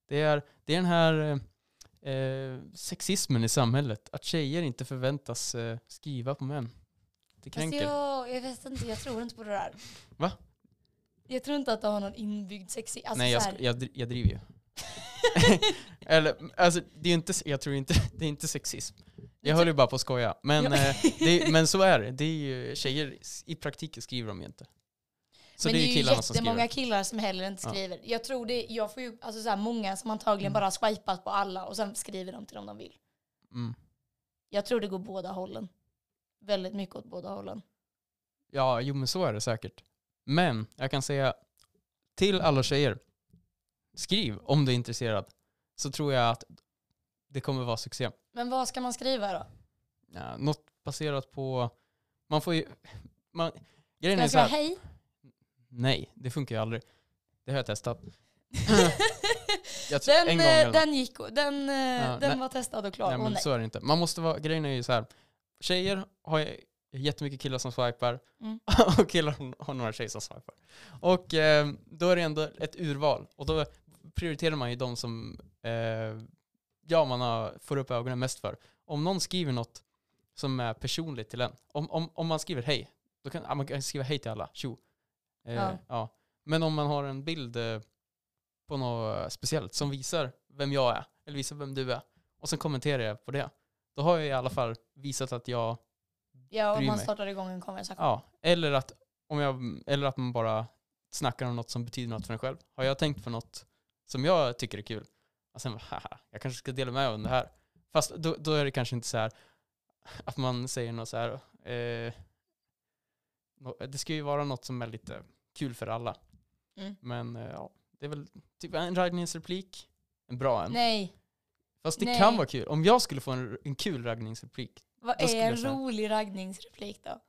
Det är, det är den här eh, eh, sexismen i samhället. Att tjejer inte förväntas eh, skriva på män. Det
Fast
kränker.
Alltså, jag, jag vet inte, jag tror inte på det där.
Va?
Jag tror inte att det har någon inbyggd sexi... Alltså
Nej, jag,
så här,
sk- jag, dri- jag driver ju. Eller, alltså, det är ju inte, jag tror inte, det är inte sexism. Jag höll ju bara på att skoja. Men,
Ja.
eh, det, är- men så är det. det är ju, tjejer, s- i praktiken skriver de ju inte. Så
men
det är ju killarna som
jättemånga
skriver.
killar som heller inte
Ja.
skriver. Jag tror det, jag får ju, alltså så här, många som antagligen bara swipat på alla och sen skriver de till dem de vill.
Mm.
Jag tror det går båda hållen. Väldigt mycket åt båda hållen.
Ja, jo men så är det säkert. Men jag kan säga till alla tjejer, skriv om du är intresserad. Så tror jag att det kommer vara succé.
Men vad ska man skriva då?
Ja, något baserat på, man får ju, man, grejen
Ska
är
jag
så här.
skriva hej?
Nej, det funkar ju aldrig. Det har jag testat. Jag tror-
den,
en gång
eh,
eller nåt.
den gick, och- den, eh,
Ja,
den
nej.
var testad och klar.
Nej
Åh,
men
nej.
så är det inte. Man måste vara, grejen är ju så här. tjejer har ju jättemycket killar som swipar
Mm.
och killar har några tjejer som swipar. Och eh, då är det ändå ett urval och då prioriterar man ju de som eh, ja, man har, får upp ögonen mest för. Om någon skriver något som är personligt till en, om, om, om man skriver hej, Då kan, ah, man kan skriva hej till alla, tjo. Eh,
Ja.
ja. Men om man har en bild eh, på något eh, speciellt som visar vem jag är, eller visar vem du är, och sen kommenterar jag på det, då har jag i alla fall visat att jag,
Ja, och
Bryr
man
mig.
startar igång en konversation.
ja, eller att, om jag, eller att man bara snackar om något som betyder något för en själv. Har jag tänkt på något som jag tycker är kul, och sen bara, haha, jag kanske ska dela med mig om det här. Fast då, då är det kanske inte så här att man säger något så här, eh, nå- det ska ju vara något som är lite kul för alla.
Mm.
Men eh, ja, det är väl typ en raggningsreplik. En bra en.
Nej,
Fast det
nej.
kan vara kul. Om jag skulle få en, en kul raggningsreplik.
vad
Då skulle
är en
jag säga-
rolig raggningsreplik då?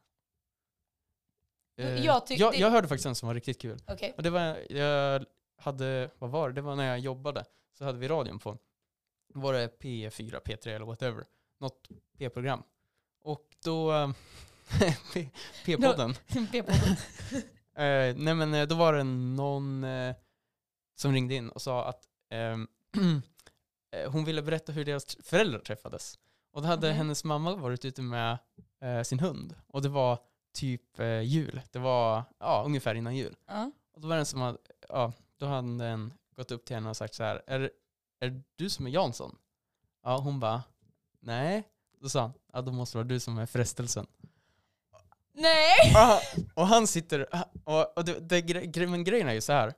eh,
Jag tyck-
jag,
det-
jag hörde faktiskt en som var riktigt kul.
Okej.
Och det var, jag hade, vad var det? Det var när jag jobbade. Så hade vi radion på. Då Var det P4, P3 eller whatever. Något P-program. Och då, eh, P- P-podden.
P-podden.
Eh, nej men eh, då var det någon eh, som ringde in och sa att ehm, eh, hon ville berätta hur deras tr- föräldrar träffades. Och då hade
Okej.
hennes mamma varit ute med eh, sin hund och det var typ eh, jul. Det var ja, ungefär innan jul.
Ja.
Och då var det en som hade, ja, då hade den gått upp till henne och sagt så här, är, är det du som är Jansson? Ja, hon bara, nej. Då sa han, ja då måste det vara du som är frestelsen.
Nej!
Ja, och han sitter, ah, och, och det, det, gre- men grejen är ju så här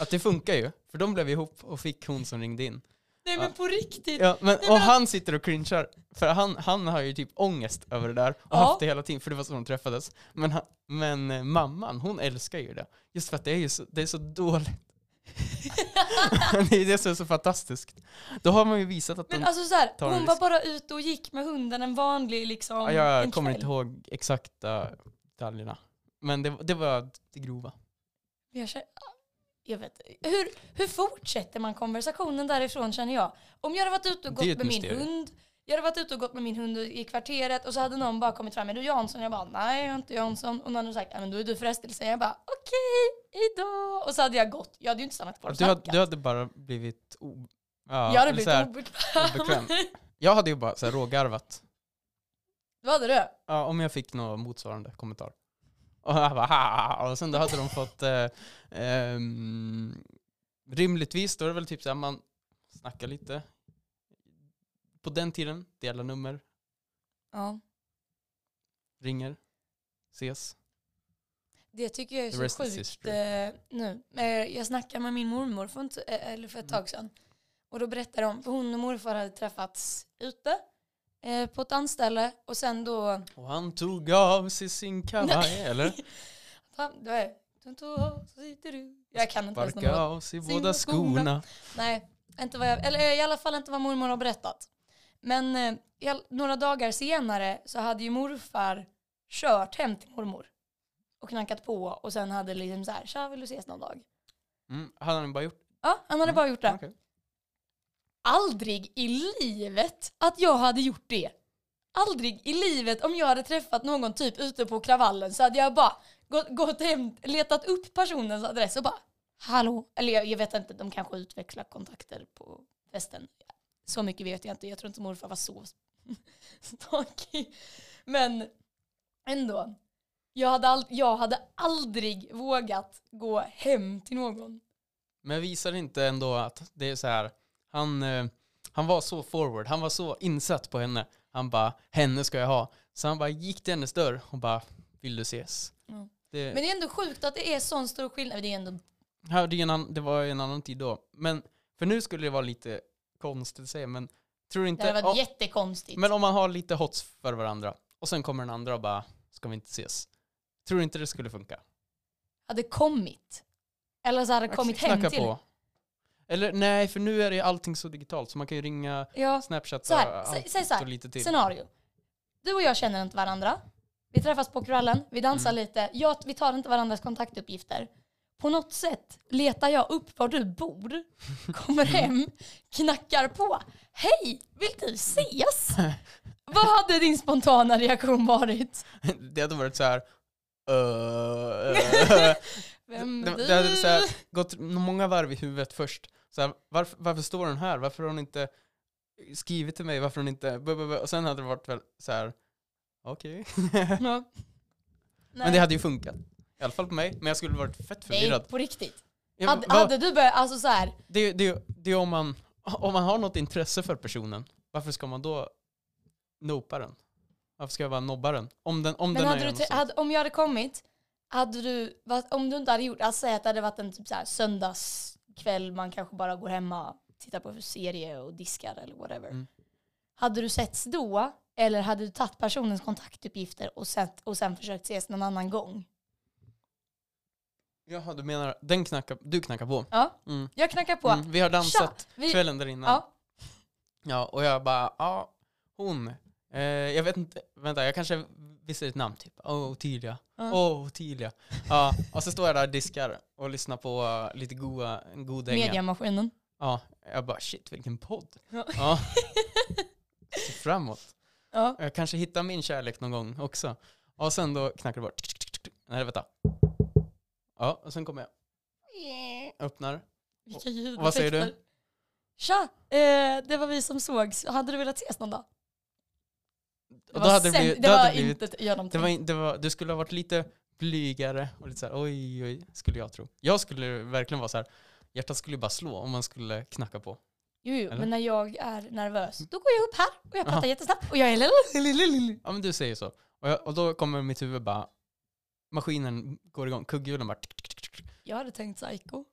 att det funkar ju, för de blev ihop och fick hon som ringde in.
Nej men på riktigt.
Ja, men,
men
och
att-
han sitter och cringear, för han, han har ju typ ångest över det där och
Ja.
haft det hela tiden, för det var så de träffades. Men, han, men eh, mamman, hon älskar ju det. Just för att det är ju så, det är så dåligt. det är det som är så fantastiskt. Då har man ju visat att
Men
de...
alltså så här,
tar en
hon var
risk.
bara ute och gick med hunden en vanlig liksom
Ja, jag
en
kommer
kväll.
inte ihåg exakta detaljerna. Men det, det var det grova.
Jag, känner, jag vet hur, hur fortsätter man konversationen därifrån känner jag? Om jag hade varit ute och
Det är
gått
ett
med min
mysterium.
hund, jag hade varit ute och gått med min hund i kvarteret och så hade någon bara kommit fram, är du Jansson? Jag bara, nej jag är inte Jansson. Och någon hade sagt, "Ja, men då är du frestelse. Jag bara, okej, hejdå. Och så hade jag gått. Jag hade ju inte stannat kvar och
Du hade,
snackat.
du hade bara blivit... O, ja,
jag hade
eller
blivit
så här,
obekväm.
obekväm. Jag hade ju bara så här rågarvat.
Vad hade du?
Ja, om jag fick någon motsvarande kommentar. Och, jag bara, "Haha." och sen då hade de fått... Eh, ehm, rimligtvis då är det väl typ så här, man snackar lite. På den tiden, dela nummer,
Ja,
ringer, ses.
det tycker jag är
The
så
rest is
sjukt
history.
eh, nu. Eh, Jag snackade med min mormor för, inte, eh, eller för ett
Mm.
tag sedan. Och då berättade de, för hon och morfar hade träffats ute eh, på ett dansställe och sen då,
Och han tog av sig sin kavaj, eller?
fan, det var- jag kan inte ens
Sparka
någon
av sig
Sina
båda
skorna.
skorna.
Nej, inte vad jag, eller eh, i alla fall inte vad mormor har berättat. Men eh, i all- några dagar senare så hade ju morfar kört hem till mormor och knackat på och sen hade liksom så här, tja vill du ses någon dag?
Mm, hade han bara gjort
Ja, han hade
Mm.
bara gjort det.
Okej.
aldrig i livet att jag hade gjort det. Aldrig i livet om jag hade träffat någon typ ute på kravallen så hade jag bara gått, gått hem, letat upp personens adress och bara hallå. Eller jag, jag vet inte, de kanske utvecklar kontakter på festen. Så mycket vet jag inte, jag tror inte morfar var så stakig. Men ändå. Jag hade, all, jag hade aldrig vågat gå hem till någon.
Men visar inte ändå att det är så här, han, eh, han var så forward, han var så insatt på henne. Han bara, henne ska jag ha. Så han bara gick till hennes dörr och bara, vill du ses?
Ja.
Det,
Men det är ändå sjukt att det är sån stor skillnad. Det är ändå
här, det, är en annan, det var en annan tid då. Men för nu skulle det vara lite konstigt att säga, men tror du
Det hade
inte...
varit
ja,
jättekonstigt.
men om man har lite hots för varandra och sen kommer den andra och bara, ska vi inte ses? Tror du inte det skulle funka?
hade kommit. Eller så hade kommit hem
Knacka
till.
på. Eller nej, för nu är det allting så digitalt så man kan ju ringa,
Ja,
snapchatta
så här,
allt
sä- säg så
och
här.
lite till.
Scenario. Du och jag känner inte varandra. Vi träffas på krallen, vi dansar
Mm.
lite. Jag, vi tar inte varandras kontaktuppgifter. På något sätt letar jag upp var du bor, kommer hem, knackar på. Hej, vill du ses? Vad hade din spontana reaktion varit?
Det hade varit så här. "Öh,
Vem
det,
du?
det hade så här, gått många varv i huvudet först. Så här, varför, varför står hon här? Varför har hon inte skrivit till mig? Varför har hon inte... bu- bu- bu- Och sen hade det varit väl så här. Okej.
Ja.
Men det hade ju funkat. I alla fall på mig. Men jag skulle varit fett
Nej,
förvirrad.
på riktigt.
Ja,
Hade,
vad-
hade du börjat, alltså så här,
Det, är- det, är- det är om man, om man har något intresse för personen, varför ska man då nopa den? Varför ska jag bara nobba den? Om den, om
men
den
hade
är
du,
något
tre-
sånt.
hade, om jag hade kommit, hade du, va- om du inte hade gjort, alltså säg att det hade varit en typ så här söndagskväll, man kanske bara går hemma, tittar på serie och diskar eller whatever.
Mm.
Hade du setts då, eller hade du tagit personens kontaktuppgifter och, sett, och sen försökt ses någon annan gång?
Jaha, du menar den knackar, du knackar på?
Ja,
Mm.
jag knackar på.
Mm, vi har dansat
Tja, vi,
kvällen där innan. Ja.
ja,
och jag bara, ja, hon. Eh, jag vet inte, vänta, jag kanske visste ditt namn typ. Åh, oh, Ottilia. Åh,
Ja.
Ottilia. Ja, och så står jag där och diskar och lyssnar på eh, lite goa, en god dänga.
mediamaskinen.
Ja, jag bara shit vilken podd.
Ja.
Ja. Så framåt.
Ja.
Jag kanske hittar min kärlek någon gång också. Och sen då knackar det bort. Nej, vänta. Ja, och sen kommer jag. Öppnar.
Vilka ljud.
och vad säger du?
Tja, eh, det var vi som sågs. Hade du velat ses någon dag?
Och då hade det
sämst-
blivit,
det
då hade
var
det blivit,
inte ett- gör
det
någonting.
var, in- det var, du skulle ha varit lite blygare och lite så här, oj, oj, skulle jag tro. Jag skulle verkligen vara så här, hjärtat skulle ju bara slå om man skulle knacka på.
Jo, jo
Eller?
men när jag är nervös, då går jag upp här och jag pratar
Aha.
jättesnabbt och jag är lalalala.
Ja men du säger så. Och, jag, och då kommer mitt huvud bara, maskinen går igång, kugghjulen bara tick, tick, tick, tick, tick.
Jag hade tänkt psycho.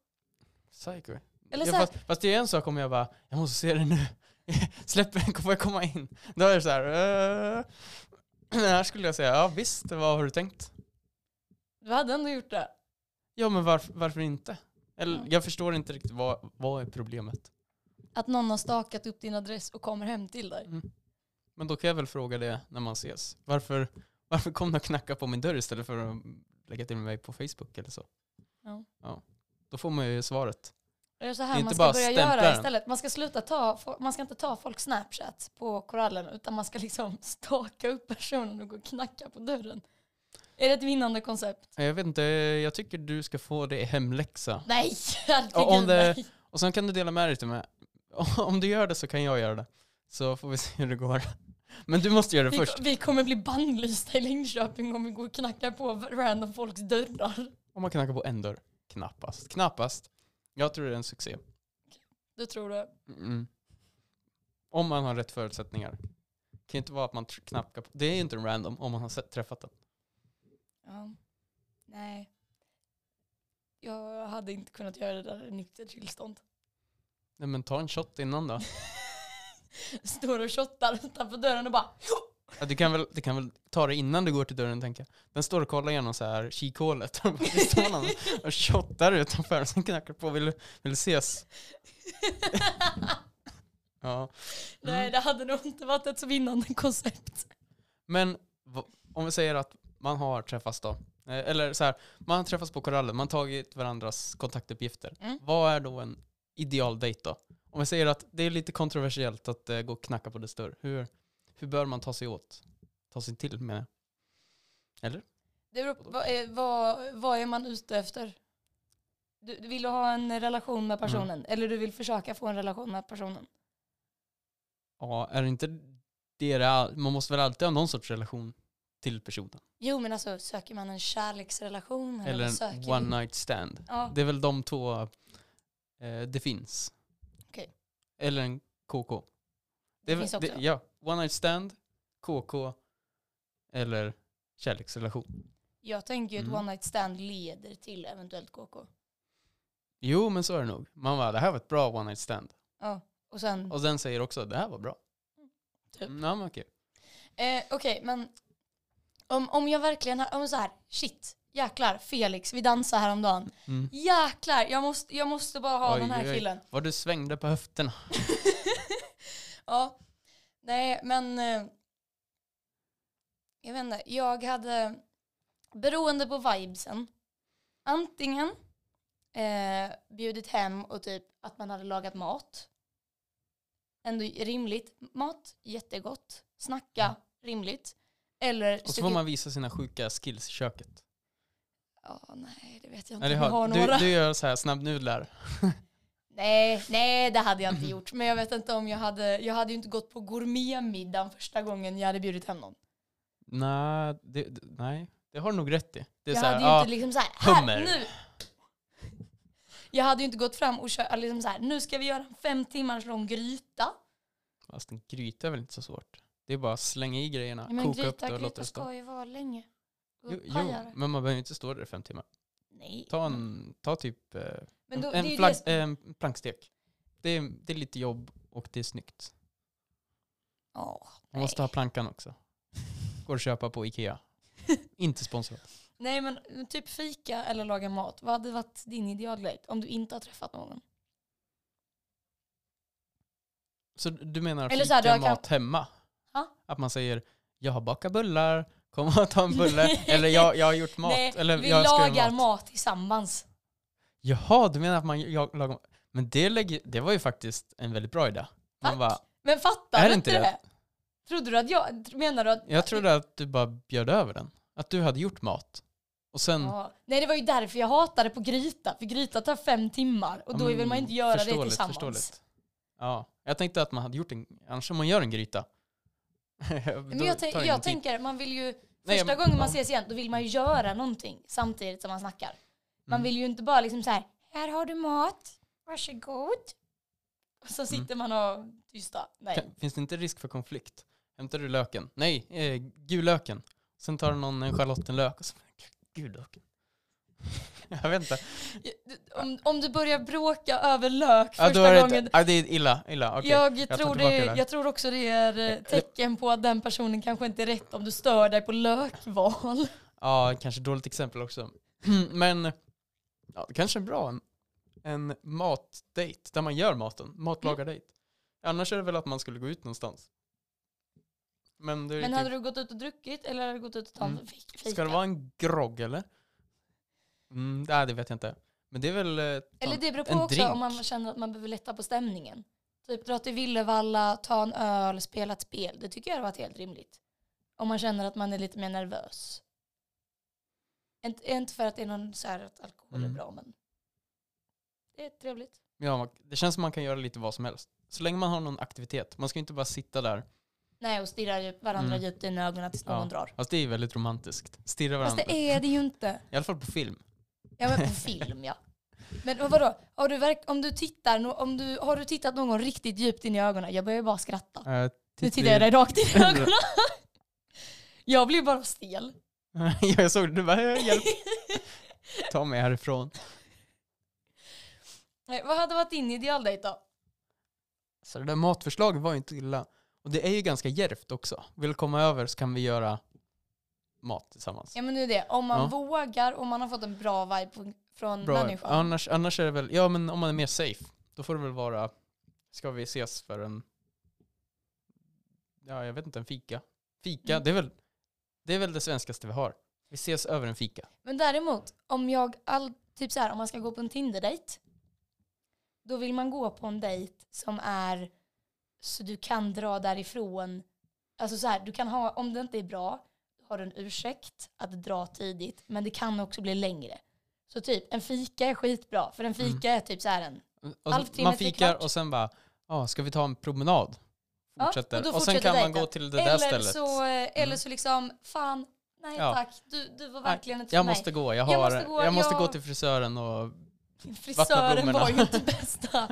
Psycho.
Eller
ja,
så här-
fast, fast det är en sak om jag bara, jag måste se den nu. Släpp den, får jag komma in? Då är det så här, eh. Men här skulle jag säga, ja visst, vad har du tänkt?
Du hade ändå gjort det.
Ja men varför, varför inte? Eller,
Mm.
Jag förstår inte riktigt vad, vad är problemet.
Att någon har stakat upp din adress och kommer hem till dig.
Mm. Men då kan jag väl fråga det när man ses. Varför, varför kom du och knackade på min dörr istället för att lägga till mig på Facebook eller så?
Ja.
Då får man ju svaret.
Det är så
Det är
här man
inte
ska
bara
börja
stämpla
göra
den.
istället. Man ska, sluta ta, fo- man ska inte ta folk snapchat på korallen utan man ska liksom staka upp personen och gå och knacka på dörren. Är det ett vinnande koncept?
Eh, Jag vet inte, jag tycker du ska få det i hemläxa.
Nej, herregud
Och om det-
nej.
Och sen kan du dela med dig till mig. Om du gör det så kan jag göra det. Så får vi se hur det går. Men du måste göra det
Vi,
först.
vi kommer bli bannlysta i Linköping om vi går och knackar på random folks dörrar.
Om man knackar på en dörr. Knappast. Knappast. Jag tror det är en succé.
Du tror det?
Mm. Om man har rätt förutsättningar. Det kan ju inte vara att man tr- knackar på. Det är ju inte random om man har sett, träffat den.
Ja. Nej. Jag hade inte kunnat göra det där i nyktert tillstånd.
Nej men ta en shot innan då.
Står och shottar utanför dörren och bara
Ja, du, kan väl, du kan väl ta det innan du går till dörren tänker jag. Den står och kollar igenom så här kikhålet. Och bara, det står någon och shottar utanför. Sen knackar på. Vill, du- vill du ses? Ja. Mm.
Nej, det hade nog inte varit ett så vinnande koncept.
Men v- om vi säger att man har träffats då, eh, eller så här, man har träffats på korallen, man har tagit varandras kontaktuppgifter.
Mm.
Vad är då en ideal dejt då? Om vi säger att det är lite kontroversiellt att eh, gå och knacka på dess dörr, hur, hur bör man ta sig åt? Ta sig till menar jag.
Det beror på, vad, är, vad, vad är man ute efter? Du, du vill ha en relation med personen
Mm.
eller du vill försöka få en relation med personen.
Ja, är det inte det det är? Man måste väl alltid ha någon sorts relation till personen?
Jo men alltså söker man en kärleksrelation? Eller,
Eller
söker
en
du-
one night stand.
Ja,
Det är väl de två eh, det finns.
Okej.
Eller en KK.
Det
är väl-
finns också.
ja, one night stand, KK eller kärleksrelation.
jag tänker ju att
Mm.
one night stand leder till eventuellt KK.
Jo, men så är det nog. Man bara, det här var ett bra one night stand.
Ja, och sen...
Och den säger också, det här var bra.
Mm. Typ.
Mm, ja, men okej.
Eh, Okej, men om, om jag verkligen har, om så här, shit, jäklar, Felix, vi dansade häromdagen.
Mm.
Jäklar, jag måste, jag måste bara ha
Oj,
den här
oj, oj.
killen.
Vad du svängde på höfterna.
Ja, nej men eh, jag vet inte, jag hade beroende på vibesen antingen eh, bjudit hem och typ att man hade lagat mat. Ändå rimligt. Mat, jättegott. Snacka, rimligt. Eller
Och så
stuckit-
får man visa sina sjuka skills i köket.
Ja, nej, det vet jag inte
Eller
om jag har
hur?
några.
Du, du gör så här snabbnudlar.
Nej, nej, det hade jag inte gjort. Men jag vet inte om jag hade, jag hade ju inte gått på gourmetmiddagen första gången jag hade bjudit hem någon.
Nej, det, det- nej, Det har du nog rätt i. Det är
Jag
så här,
hade ju
ja,
inte liksom så här, här
hummer.
nu. Jag hade ju inte gått fram och kört, liksom så här, nu ska vi göra en fem timmars lång gryta.
fast en gryta är väl inte så svårt. Det är bara att slänga i grejerna,
Ja, men
koka upp
gryta,
det och låta
gryta
det stå.
ska ju vara länge. Och
Jo, jo,
pajar.
men man behöver ju inte stå där i fem timmar.
Nej.
Ta, en, ta typ eh,
Men då,
en, eh.
det är ju
plank,
det som-
en plankstek. Det är, det är lite jobb och det är snyggt.
Ja,
Man måste ha plankan också. Går att köpa på Ikea. inte sponsrat.
Nej men typ fika eller laga mat. Vad hade varit din idealglade om du inte har träffat någon?
Så du menar
Eller
fika
så här, du har
mat hemma?
Ja.
Att man säger jag har bakat bullar, kom och ta en bulle. eller jag, jag har gjort mat.
Nej,
eller
vi
jag ska göra
lagar mat. tillsammans.
Jaha, du menar att man jag, lagar mat. Men det, lägger, det var ju faktiskt en väldigt bra idé. Man
Tack.
bara,
Men fattar
Är
du
det
inte
inte
det? Trodde du att jag, menar du att...
jag trodde att du bara bjöd över den. Att du hade gjort mat. Och sen,
Ja. Nej det var ju därför jag hatade på gryta, för gryta tar fem timmar och
Ja,
då vill
men
man inte göra det
förståeligt,
tillsammans.
förståeligt. Ja, jag tänkte att man hade gjort en, annars om man gör en gryta.
Men jag, tän- jag tänker, man vill ju, första
men-
gången man
ja.
ses igen, då vill man ju göra någonting samtidigt som man snackar. Man
Mm.
vill ju inte bara liksom så här, här har du mat, varsågod. Och
Mm.
så sitter man och tysta. Nej.
Finns det inte risk för konflikt? Hämtar du löken? Nej, eh, gul löken. Sen tar någon en schalottenlök och så, gul löken. jag vet inte.
Om, om du börjar bråka över lök
Ja, då
första
är det,
gången,
ja, det är illa. illa. okej.
jag,
tar
tror
tillbaka
det,
det.
jag tror också det är eh, tecken på att den personen kanske inte är rätt om du stör dig på lökval.
Ja, kanske dåligt exempel också. Men ja, det kanske är bra. En, en matdate där man gör maten.
Mm.
Matlagardejt. Annars är det väl att man skulle gå ut någonstans. Men, det är
Men
typ,
hade du gått ut och druckit eller hade du gått ut och tagit
Mm.
mm. fika?
Ska det vara en grogg eller? Mm, nej, det vet jag inte. Men det är väl... eh,
Eller
sån-
det beror på
en
också
drink.
om man känner att man behöver lätta på stämningen. Typ dra till Villevalla, ta en öl, spela ett spel. Det tycker jag hade varit helt rimligt. Om man känner att man är lite mer nervös. Inte, inte för att det är någon så här att alkohol
Mm.
är bra, men det är trevligt.
ja, man- det känns som man kan göra lite vad som helst. Så länge man har någon aktivitet. Man ska ju inte bara sitta där.
Nej, och stirra djup- varandra
Mm.
djupt in i ögonen tills
Ja.
någon drar.
Fast det är ju väldigt romantiskt. Stirra
Fast
varandra.
det är det ju inte.
I alla fall på film.
Ja, men på film ja. Men vad- vadå, har du verk- om du tittar, no- om du, har du tittat någon riktigt djupt in i ögonen? Jag börjar ju bara skratta.
Eh,
Nu
titt-
tittar jag dig rakt i ögonen. Jag blir bara stel.
Ja, jag såg det. Du bara, "Eh, hjälp. Ta mig härifrån.
Nej, Vad hade varit din idealdejt då?
Så det där matförslaget var ju inte illa. Och det är ju ganska djärvt också. Vill du komma över så kan vi göra mat tillsammans.
Ja men nu är det, om man
Ja.
vågar och man har fått en bra vibe på- från människan.
Annars, annars är det väl, ja men om man är mer safe, då får det väl vara, ska vi ses för en, ja jag vet inte, en fika. Fika,
Mm.
det, är väl, det är väl det svenskaste vi har. Vi ses över en fika.
Men däremot, om jag all, typ så här, om man ska gå på en Tinder-dejt, då vill man gå på en dejt som är så du kan dra därifrån. Alltså så här, du kan ha, om det inte är bra, har du en ursäkt att dra tidigt, men det kan också bli längre. Så typ, en fika är skitbra, för en
Mm.
fika är typ så här en
Och så,
Halvtimme
Alltså, man
till
fikar
kvart.
och sen bara, ja ska vi ta en promenad?
Ja,
Fortsätter.
och då
och, sen
fortsätter
kan man
dejten.
gå till det där
Eller
stället. Mm.
så, eller så liksom, fan, nej
Ja.
tack, du, du var
Nej,
verkligen inte för
Jag
mig.
måste gå, jag, har, jag
Jag
måste,
måste
gå,
gå, jag-
till frisören och...
Frisören
blommorna.
var ju inte bästa.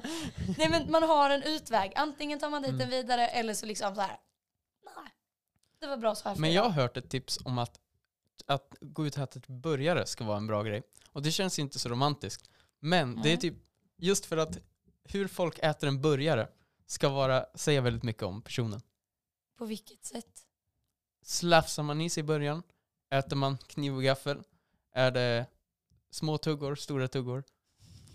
nej men man har en utväg, antingen tar man
Mm.
dit den vidare eller så liksom så här, nej, det var bra så här för
Men
idag.
jag har hört ett tips om att, att gå ut och äta ett burgare ska vara en bra grej. Och det känns ju inte så romantiskt. Men det är
Nej.
typ, just för att hur folk äter en burgare ska vara, säga väldigt mycket om personen.
På vilket sätt?
Slafsar man i sig i början? Äter man kniv och gaffel? Är det små tuggor, stora tuggor?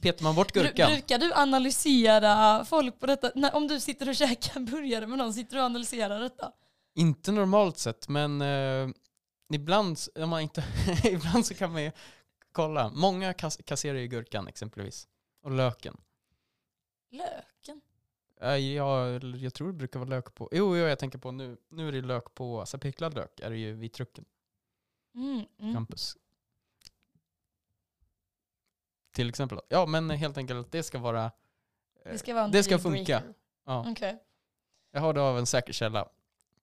Petar man bort
Bru-
gurkan?
brukar du analysera folk på detta? Nej, om du sitter och käkar burgare med någon, sitter du och analyserar detta?
Inte normalt sett, men eh, ibland, s- om man inte, ibland så kan man ju kolla. Många kas kasserar ju gurkan exempelvis. Och löken.
Löken?
Eh, jag, jag tror det brukar vara lök på. Jo, jo jag tänker på nu. Nu är det lök på, alltså picklad lök är det ju vid trucken.
Mm, mm.
Campus. Till exempel. Ja, men helt enkelt det ska vara, eh,
Det ska, vara en
det ska
dealbreaker.
funka. Ja.
Okej.
Jag har det av en säker källa.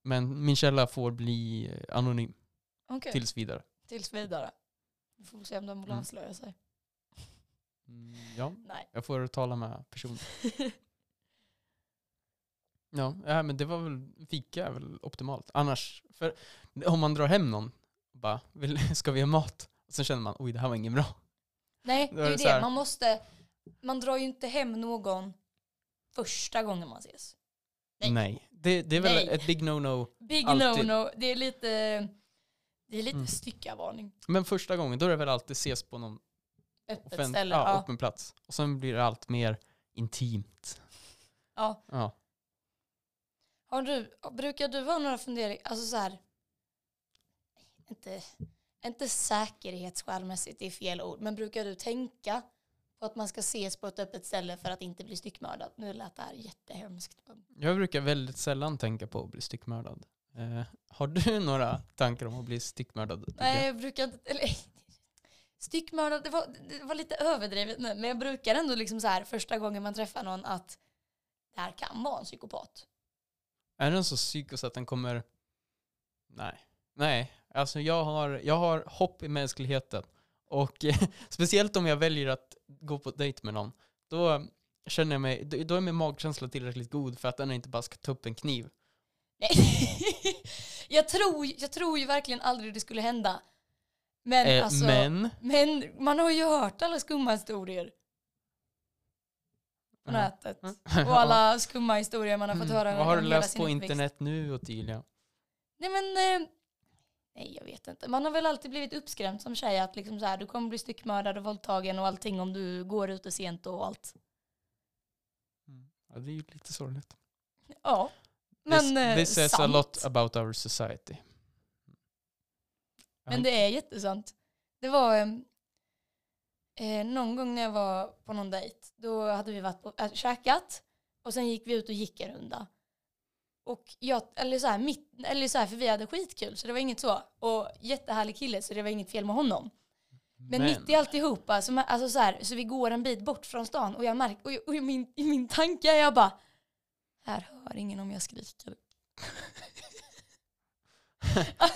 Men min källa får bli eh, anonym
Okej.
tills vidare.
Tills vidare. Vi får se om de vill
Mm.
avslöja sig.
Mm, ja,
Nej.
jag får tala med personen. Ja, ja, men det var väl, fika är väl optimalt. Annars, för om man drar hem någon, bara, vill, ska vi ha mat? Och sen känner man, oj det här var ingen bra.
Nej,
Då
det
är
är
det
ju
så här.
det. Man måste, man drar ju inte hem någon första gången man ses. Nej.
Det, det är väl
Nej.
ett big no-no.
Big
Alltid.
no-no. Det är lite, det är lite
Mm.
styckavarning.
Men första gången, då är det väl alltid ses på någon
Öppet
offent-
ställe.
ja,
Ja,
öppen plats. Och sen blir det allt mer intimt.
ja.
Ja.
Har du, brukar du ha några funderingar, alltså så här, inte, inte säkerhetsskäl-mässigt, det är fel ord, men brukar du tänka på att man ska ses på ett öppet ställe för att inte bli styckmördad? Nu lät det här jättehemskt. Men
Jag brukar väldigt sällan tänka på att bli styckmördad. Eh, har du några tankar om att bli styckmördad? Lydia?
Nej, jag brukar inte... Eller, styckmördad, det var, det var lite överdrivet nu. Men jag brukar ändå liksom så här första gången man träffar någon att det här kan vara en psykopat.
Är den så psykos att den kommer... Nej. Nej. Alltså jag har, jag har hopp i mänskligheten. Och eh, speciellt om jag väljer att gå på dejt med någon. Då känner jag mig... Då är min magkänsla tillräckligt god för att den inte bara ska ta upp en kniv.
Nej. jag, tror, jag tror ju verkligen aldrig det skulle hända. Men,
Eh,
alltså, men...
men...
man har ju hört alla skumma historier på
Ja. Mm.
nätet. Och alla skumma historier man har fått höra
Vad har du
under hela
läst
sin
på
uppväxt.
internet nu och Tilia?
Nej men, eh, nej jag vet inte. Man har väl alltid blivit uppskrämd som tjej att liksom så här, du kommer bli styckmördad och våldtagen och allting om du går ute sent och allt.
Mm. Ja, det är ju lite sorgligt.
Ja.
this,
Men eh,
this says a
sant.
lot about our society.
Men det är jättesant. Det var eh, eh, någon gång när jag var på någon dejt. Då hade vi varit på, äh, käkat och sen gick vi ut och gick en runda. Och jag, eller så här, mitt, eller så här, för vi hade skitkul så det var inget så. Och jättehärlig kille så det var inget fel med honom. Men, mitt i alltihopa, så, ma- alltså så, här, så vi går en bit bort från stan och jag märker, och, jag, och i, min, i min tanke är jag bara, här hör ingen om jag skriker.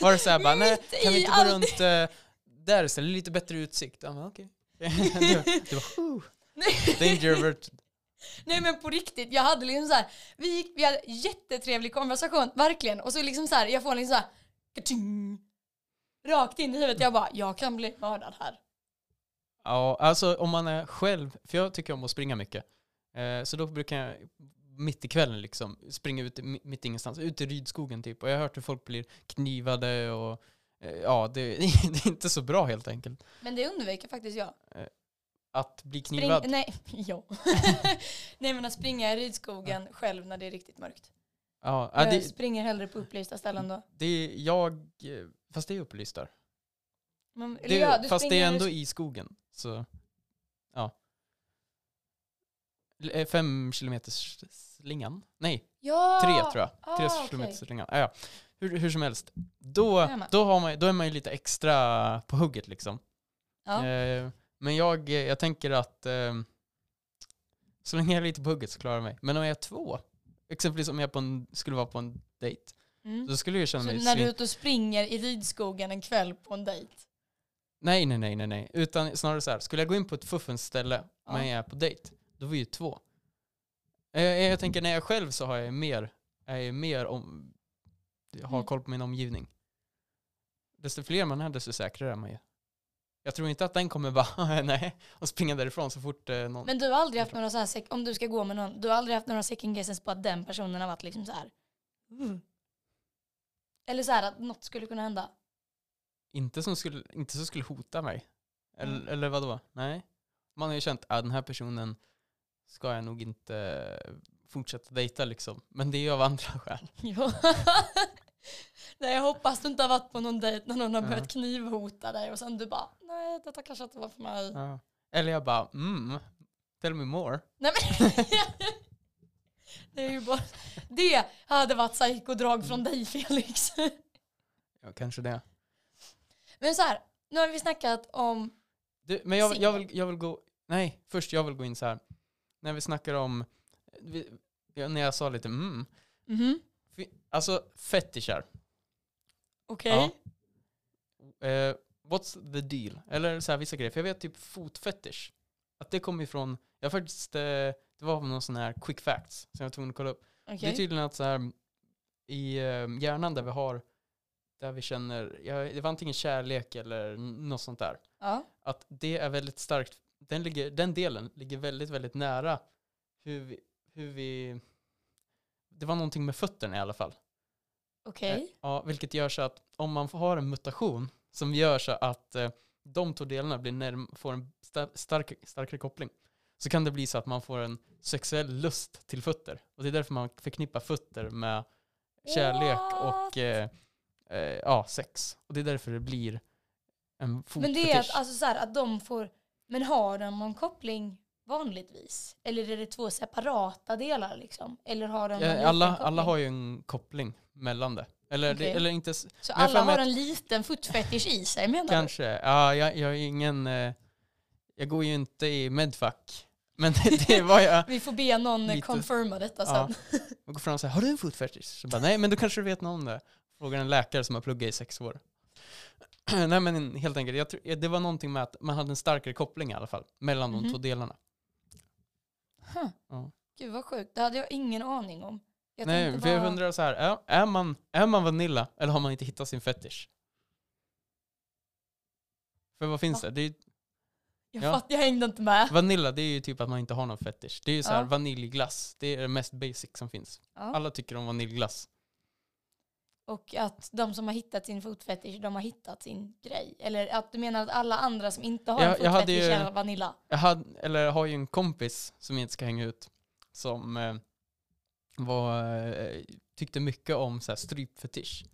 Var det såhär bara, nej,
Mitt
kan vi
i
inte gå
allt-
runt eh, där istället? Lite bättre utsikt. Ja, men okej. det var, det var "Whew."
Nej.
danger averted.
Nej men på riktigt, jag hade liksom så här, vi, gick, vi hade jättetrevlig konversation, verkligen. Och så liksom så här, jag får liksom så här, ka-ting, rakt in i huvudet. Jag bara, jag kan bli mördad här.
Ja, alltså om man är själv, för jag tycker om att springa mycket. Eh, så då brukar jag mitt i kvällen liksom springa ut i mi- mitt ingenstans, ut i Rydskogen typ. Och jag har hört hur folk blir knivade och eh, ja, det, det är inte så bra helt enkelt.
Men det undviker faktiskt jag.
Att bli
Spring,
knivad.
nej, ja. nej men att springa i Rydskogen själv när det är riktigt mörkt.
Ja, ja,
jag
det,
springer hellre på upplysta ställen då.
det är jag, eh, fast det är upplyst där.
Men, eller
Det,
ja, du
fast det är
springer-
ändå i skogen. Så, ja. L- eh, Fem kilometers slingan? Nej,
ja,
tre tror jag. Tre
ah, okej.
kilometers slingan. Ja, ja. Hur, hur som helst. Då,
Jajamän.
då, har man, då är man ju lite extra på hugget liksom.
Ja.
Eh, men jag, eh, jag tänker att eh, så länge jag är lite på hugget så klarar jag mig. Men om jag är två, exempelvis om jag på en, skulle vara på en dejt,
Mm.
då skulle jag känna
Så
mig
när du är
svin-
ute och springer i Rydskogen en kväll på en dejt.
Nej, nej, nej, nej, nej. Utan snarare så här, skulle jag gå in på ett fuffens ställe
Ja.
men jag är på dejt, då var ju två. Eh, Jag, jag tänker när jag är själv så har jag ju mer, är jag ju mer om, jag har
Mm.
koll på min omgivning. Desto fler man är, desto säkrare är man ju. Jag tror inte att den kommer bara, "Ah, nej, och springa därifrån så fort eh, någon...
Men du har aldrig haft några så här, sec- om du ska gå med någon, du har aldrig haft några second guesses på att den personen har varit liksom så här. Eller så här att något skulle kunna hända.
Inte, som skulle, inte som skulle hota mig. Eller,
Mm.
eller vadå? Nej. Man har ju känt, ah, den här personen ska jag nog inte fortsätta dejta liksom. Men det är ju av andra skäl.
Ja. nej jag hoppas du inte har varit på någon dejt när någon har
Ja.
börjat knivhota dig och sen du bara, nej detta kanske inte var för mig.
Ja. Eller jag bara, mm, tell me more.
Nej men. det är ju bara, det hade varit psykodrag från dig Felix.
Ja, kanske det.
Men så här, nu har vi snackat om,
Du, men jag, jag,
Singel.
vill, jag vill gå, nej, först jag vill gå in så här. När vi snackar om, vi, ja, när jag sa lite mm,
Mhm,
fi- alltså fetischer.
okej.
Ja. Eh, What's the deal? Eller så här vissa grejer. För jag vet typ fotfetish. Att det kommer ifrån, jag har faktiskt, eh, det var någon sån här quick facts som jag var tvungen att kolla upp. Det är
Okej.
tydligen att så här, i eh, hjärnan där vi har, där vi känner, ja, det var antingen kärlek eller n- något sånt där.
Ja.
Att det är väldigt starkt, den, ligger, den delen ligger väldigt, väldigt nära hur vi, hur vi, det var någonting med fötterna i alla fall.
Okej.
Eh, Ja, vilket gör så att om man får- har en mutation som gör så att eh, de två delarna blir närm- får en sta- stark, starkare koppling så kan det bli så att man får en sexuell lust till fötter. Och det är därför man förknippar fötter med kärlek
What?
och eh, eh, ja, sex. Och det är därför det blir en
Men det är att,
fotfetisch.
alltså, så här, att de får, men har de någon koppling vanligtvis? Eller är det två separata delar liksom? Eller har de någon
Eh, alla,
liten
alla
koppling?
har ju en koppling mellan det. Eller,
Okej.
det, eller inte s-
Så
men jag
alla
får med
har en liten footfetish i sig menar du?
Kanske. Ja, jag, jag är ingen... eh, Jag går ju inte i medfack. Men det, det var jag.
Vi får be någon eh,
Lite.
confirma detta
Ja.
sen.
Jag går fram och säger, har du en foot fetish? Så bara, nej men då kanske du vet någon om det. Frågar en läkare som har pluggat i sex år. nej men helt enkelt, jag tror, det var någonting med att man hade en starkare koppling i alla fall. Mellan de
Mhm.
två delarna.
Huh.
Ja.
Gud vad sjukt, det hade jag ingen aning om. Jag
nej,
tänkte
för jag
bara-
undrar så här, är, är, man, är man vanilla eller har man inte hittat sin fetish? För vad finns
Ja.
det? det är, ju-
jag,
ja.
fatt, jag hängde inte med.
vanilla det är ju typ att man inte har någon fetish. Det är ju så här,
Ja.
vaniljglass, det är det mest basic som finns.
Ja.
Alla tycker om vaniljglass.
Och att de som har hittat sin fotfetish, de har hittat sin grej. Eller att du menar att alla andra som inte har
Jag-
en
jag hade
fotfetish
ju-
är vanilla?
Jag hade, eller har ju en kompis som jag inte ska hänga ut som eh, var, eh, tyckte mycket om så här, strypfetisch.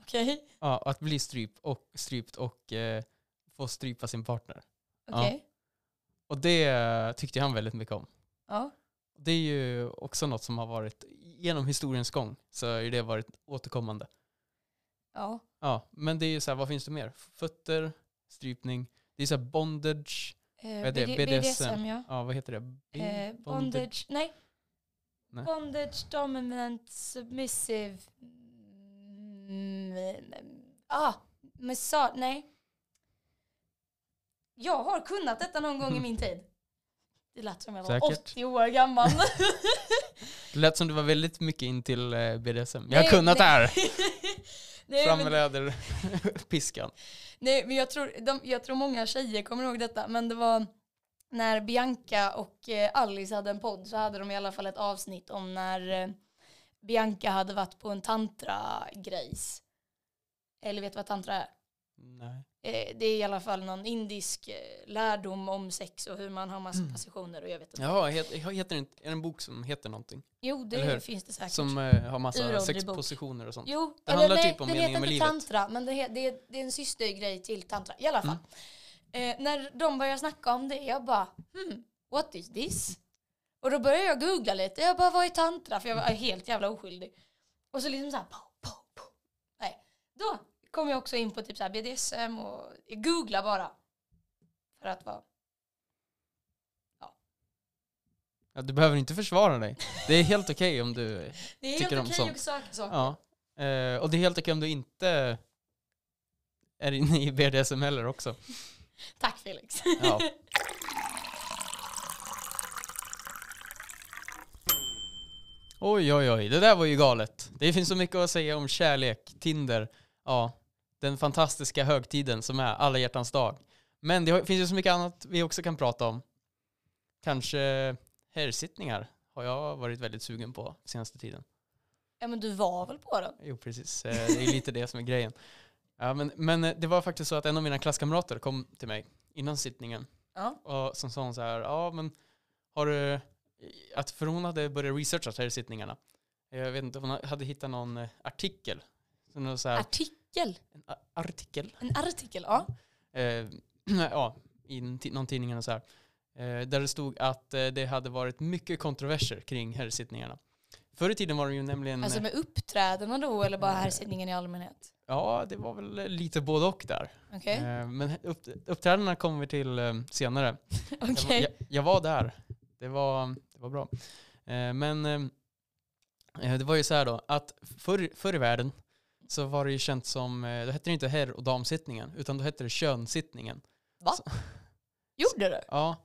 Okej.
Ja, att bli stryp och, strypt och eh, få strypa sin partner. Ja.
Okej.
Och det eh, tyckte han väldigt mycket om.
Ja.
Det är ju också något som har varit, genom historiens gång så har ju det varit återkommande.
ja.
Ja, men det är ju så här, vad finns det mer? Fötter, strypning, det är så här bondage,
Eh,
Vad är det?
BD-
BDSM?
BDSM ja.
ja vad heter det? B-
Eh, bondage, nej.
Nej.
Bondage, dominant, submissive. Mm, ah, massage, nej. Jag har kunnat detta någon gång i min tid. Det lät som jag var
Säkert.
80 år gammal.
Det lät som du var väldigt mycket in till eh, BDSM. Jag
Nej,
har kunnat det
nej.
här!
nej,
Fram
men-
med läderpiskan.
Nej, men jag tror, de, jag tror många tjejer kommer ihåg detta, men det var när Bianca och eh, Alice hade en podd så hade de i alla fall ett avsnitt om när eh, Bianca hade varit på en tantra-grejs. Eller vet du vad tantra är?
Nej.
Eh, det är i alla fall någon indisk eh, lärdom om sex och hur man har
Mm.
massa positioner och jag vet inte.
Jaha, heter, heter det inte, är det en bok som heter någonting?
Jo,
Eller
det
hur?
finns det säkert.
Som eh, har massa
Uråldrig
sexpositioner och sånt.
Jo,
Det
eller
handlar
nej,
typ om
den
meningen
heter
med
inte
livet.
tantra, men det, he- det, är- det är en systergrej till tantra. I alla
Mm.
fall. Eh, när de börjar snacka om det, jag bara hmm, what is this? Och då börjar jag googla lite, jag bara vad är tantra? För jag var helt jävla oskyldig. Och så liksom så här, pow, pow, pow. Nej. Då kom jag också in på typ så här BDSM och googla bara. För att vara,
Ja, du behöver inte försvara dig. Det är helt okej om du...
det är
Tycker om
helt okej
sånt.
att söka saker.
Ja. Eh, och det är helt okej om du inte är inne i BDSM heller också.
Tack Felix.
Ja. Oj, oj, oj. Det där var ju galet. Det finns så mycket att säga om kärlek, Tinder, ja, den fantastiska högtiden som är alla hjärtans dag. Men det har- finns ju så mycket annat vi också kan prata om. Kanske herrsittningar har jag varit väldigt sugen på senaste tiden.
ja men du var väl på den?
Jo, precis. Eh, Det är lite det som är grejen. Ja, men, men eh, det var faktiskt så att en av mina klasskamrater kom till mig innan sittningen
Ja.
och som sa hon så här, ja men har du, att för hon hade börjat researcha så här sittningarna. Jag vet inte, hon hade hittat någon eh, artikel. Så någon så här,
Artikel.
en a- artikel?
En artikel, ja.
Eh, ja, i en ti- någon tidning eller så här. Eh, där det stod att eh, det hade varit mycket kontroverser kring herrsittningarna. Förr i tiden var det ju nämligen,
Alltså
eh,
med uppträdena då eller bara
Eh.
herrsittningen i allmänhet?
ja det var väl eh, lite både och där.
Okej.
Eh, men upp, uppträdandena kommer vi till eh, senare. Jag, var-
Okej.
jag, jag var där. Det var, det var bra. Eh, men eh, det var ju så här då, att förr, förr i världen så var det ju känt som, eh, då hette det inte herr och damsittningen, utan då hette det könsittningen.
Gjorde du?
Ja.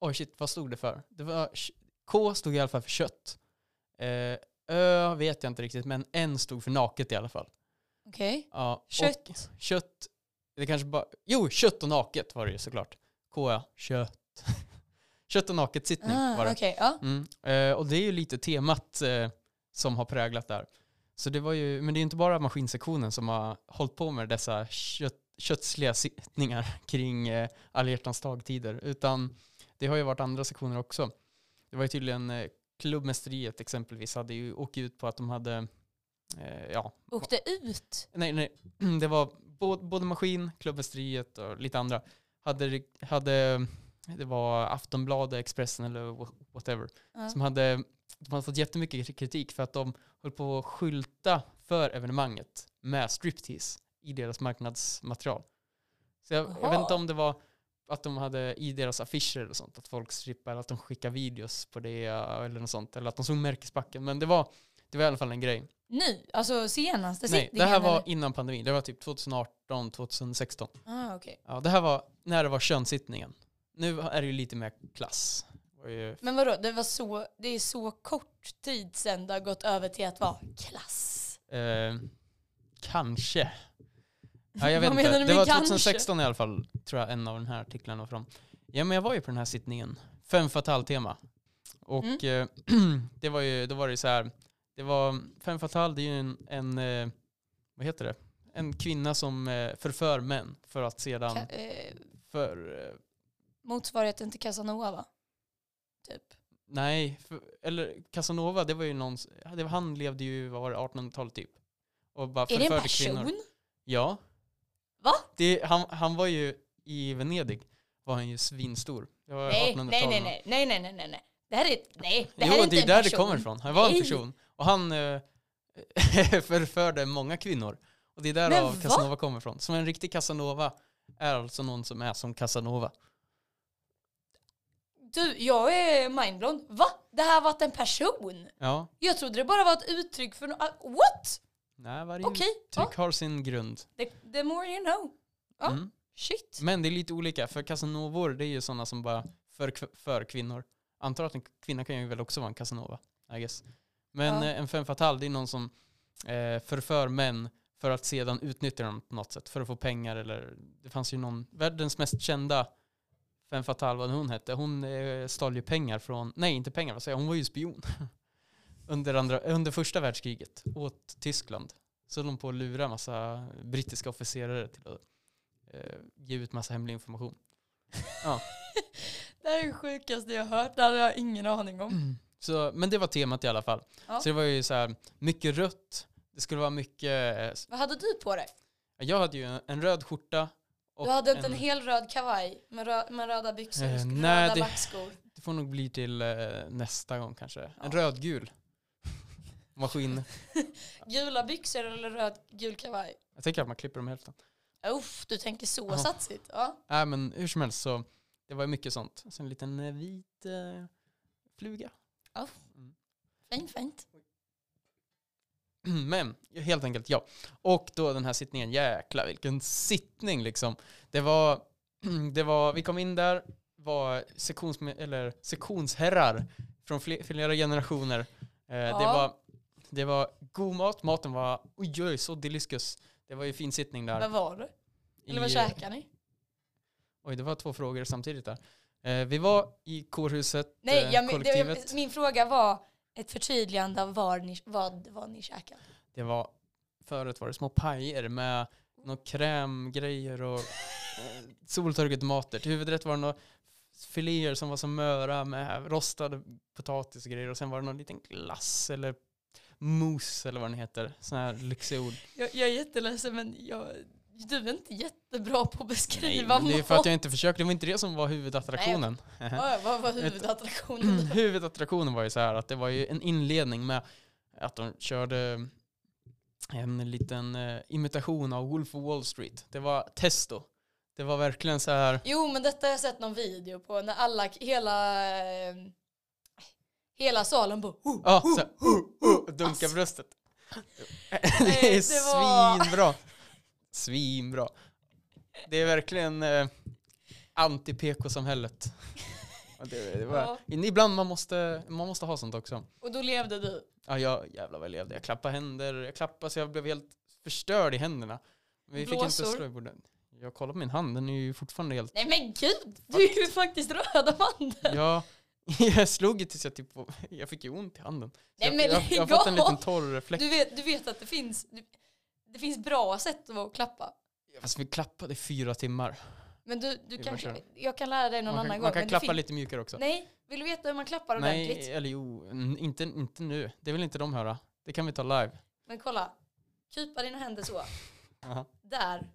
Oj shit, vad stod det för? Det var, K stod i alla fall för kött. Eh, Ö vet jag inte riktigt, men N stod för naket i alla fall.
Okej.
Ja, och
Kött.
Kött. Det kanske bara... Jo, kött och naket var det ju såklart. K ja, kött. kött och naket sittning var
Ah,
det.
Okej, ja.
Mm. Eh, och det är ju lite temat eh, som har präglat där. Så det var ju, men det är ju inte bara maskinsektionen som har hållit på med dessa kött, köttsliga sittningar kring eh, alla hjärtans dagtider, utan det har ju varit andra sektioner också. Det var ju tydligen eh, klubbmästeriet exempelvis hade ju åkt ut på att de hade, eh, ja,
Åkte ut.
nej, nej, det var både, både maskin, klubbmästeriet och lite andra. Hade, hade, det var Aftonbladet, Expressen eller wh- whatever
Ja.
som hade, de hade fått jättemycket kritik för att de höll på att skylta för evenemanget med striptease i deras marknadsmaterial. Så jag, jag vet
Jaha.
inte om det var att de hade i deras affischer eller sånt, att folk strippar, eller att de skickar videos på det eller något sånt, eller att de såg märkesbacken. Men det var, det var i alla fall en grej.
Nu? Alltså senaste
Nej, det
sittningen?
här var
eller?
innan pandemin. Det var typ 2018, 2016.
Ah, okej.
Ja, det här var när det var könssittningen. Nu är det ju lite mer klass. Det var ju
Men vadå, det, var så, det är så kort tid sedan det har gått över till att vara klass.
Eh, kanske. Ja, jag vet
Vad menar
inte.
du
Det
med
var
kanske?
2016 i alla fall, tror jag, en av den här artiklarna var från. Ja, men jag var ju på den här sittningen. Fem fatal-tema. Och
Mm.
eh, det var ju, då var det ju så här, det var, fem fatal, det är ju en, en eh, vad heter det? En kvinna som eh, förför män för att sedan,
Ka- eh,
för, eh,
motsvarigheten till Casanova. Typ.
nej, för, eller Casanova, det var ju någon, det var, han levde ju, vad var det, 1800-talet typ. Och bara
är det en
förförde
person?
kvinnor. Ja.
Va?
Det, han, han var ju i Venedig, var han ju svinstor. Det var
Nej,
1800-talet.
nej, nej, nej, nej, nej, nej, nej, nej. Det här är, nej, det här
jo,
är
det
inte
är
en
ju där
person.
det kommer ifrån. Han var en
Nej.
person. Och han eh, förförde många kvinnor. Och det är
Men
därav
va?
Casanova kommer ifrån. Som en riktig Casanova är alltså någon som är som Casanova.
Du, jag är mindblown. Va? Det här varit en person?
Ja,
Jag trodde det bara var ett uttryck för något. What?
nej, varje
Okej, ja,
uttryck har sin grund.
the, the more you know. Ja.
Mm.
Shit.
Men det är lite olika, för Casanovor det är ju sådana som bara för, för kvinnor. Antar att en kvinna kan ju väl också vara en Casanova, I guess. Men
Ja.
eh, en femme fatale, det är någon som eh, förför män för att sedan utnyttja dem på något sätt, för att få pengar eller det fanns ju någon, världens mest kända femme fatale, vad hon hette, hon eh, stal ju pengar från, nej inte pengar, vad säger jag, hon var ju spion. under, andra, under första världskriget åt Tyskland. Så höll hon på att lura massa brittiska officerare till att eh, ge ut massa hemlig information.
Det här är det sjukaste jag har hört. Det hade jag ingen aning om.
Så, men det var temat i alla fall.
Ja.
Så det var ju så här, mycket rött, det skulle vara mycket, eh, s-
Vad hade du på dig?
jag hade ju en, en röd skjorta. och
Du hade inte en, hel röd kavaj med, rö- med röda byxor
Eh,
och
nej,
röda
det-
backskor.
Det får nog bli till eh, nästa gång kanske. En
Ja.
rödgul maskin.
Gula byxor eller röd gul kavaj?
Jag tänker att man klipper dem i hälften.
Uff, du tänker så
Ja.
satsigt. Ja.
Nej men hur som helst så det var ju mycket sånt. Så en liten eh, vit eh, fluga. Mm.
Fint, fint.
Men helt enkelt ja. Och då den här sittningen, jäklar vilken sittning liksom. Det var, det var vi kom in där, var sektions, eller, sektionsherrar från fle- flera generationer. Eh, det,
Ja.
var, det var god mat, maten var oj, oj så deliskus. Det var ju fin sittning där.
Vad var du? Eller vad
i-
käkar ni?
Oj, det var två frågor samtidigt där. Eh, vi var i kårhuset,
Nej,
eh,
jag, men- det,
kollektivet.
jag, min fråga var ett förtydligande av var ni, vad, vad ni käkade.
Det var, förut var det små pajer med några krämgrejer och eh, soltorkade tomater. Till huvudrätt var det några filéer som var som möra med rostade potatis och grejer. Och sen var det någon liten glass eller mousse eller vad den heter. Sådana här lyxiga ord.
Jag, jag är jätteledsen men jag, du är inte jättebra på
Nej,
att beskriva
men det är för att jag inte försökte. Det var inte det som var huvudattraktionen.
Ja, vad var
Mm.
huvudattraktionen?
Huvudattraktionen var ju så här att det var ju en inledning med att de körde en liten eh, imitation av Wolf of Wall Street. Det var testo. Det var verkligen så här,
Jo men detta har jag sett någon video på när alla, hela, eh, hela salen bara oh,
ja, så här uh, uh, dunka
Alltså.
bröstet. det är
Nej, det var-
svinbra. Svinbra. Det är verkligen eh, anti-PK-samhället. Och det, det var,
Ja.
Ibland man måste, man måste ha sånt också.
Och då levde du.
Ja, jag jävlar vad jag levde. Jag klappade händer, jag klappade så jag blev helt förstörd i händerna. Men vi fick inte
Blåsor.
slå i bordet. Jag kollar på min hand, den är ju fortfarande helt...
Nej men gud, du är ju faktiskt röd av handen.
Ja, jag slog ju tills jag typ... Jag fick ju ont i handen. Så
Nej,
jag,
men
jag, jag har
lägg
fått en liten
av.
torr fläck.
Du vet, du vet att det finns, det finns bra sätt att klappa.
Fast vi klappade i fyra timmar.
Men du, du
man
kanske,
kör.
jag kan lära dig någon
man
annan
kan,
gång.
man kan
men det
klappa
fin-
lite mjukare också.
Nej, vill du veta hur man klappar ordentligt?
Nej, eller jo, n- inte, inte nu. Det vill inte de höra. Det kan vi ta live.
Men kolla, kupa dina händer så.
Jaha.
Där.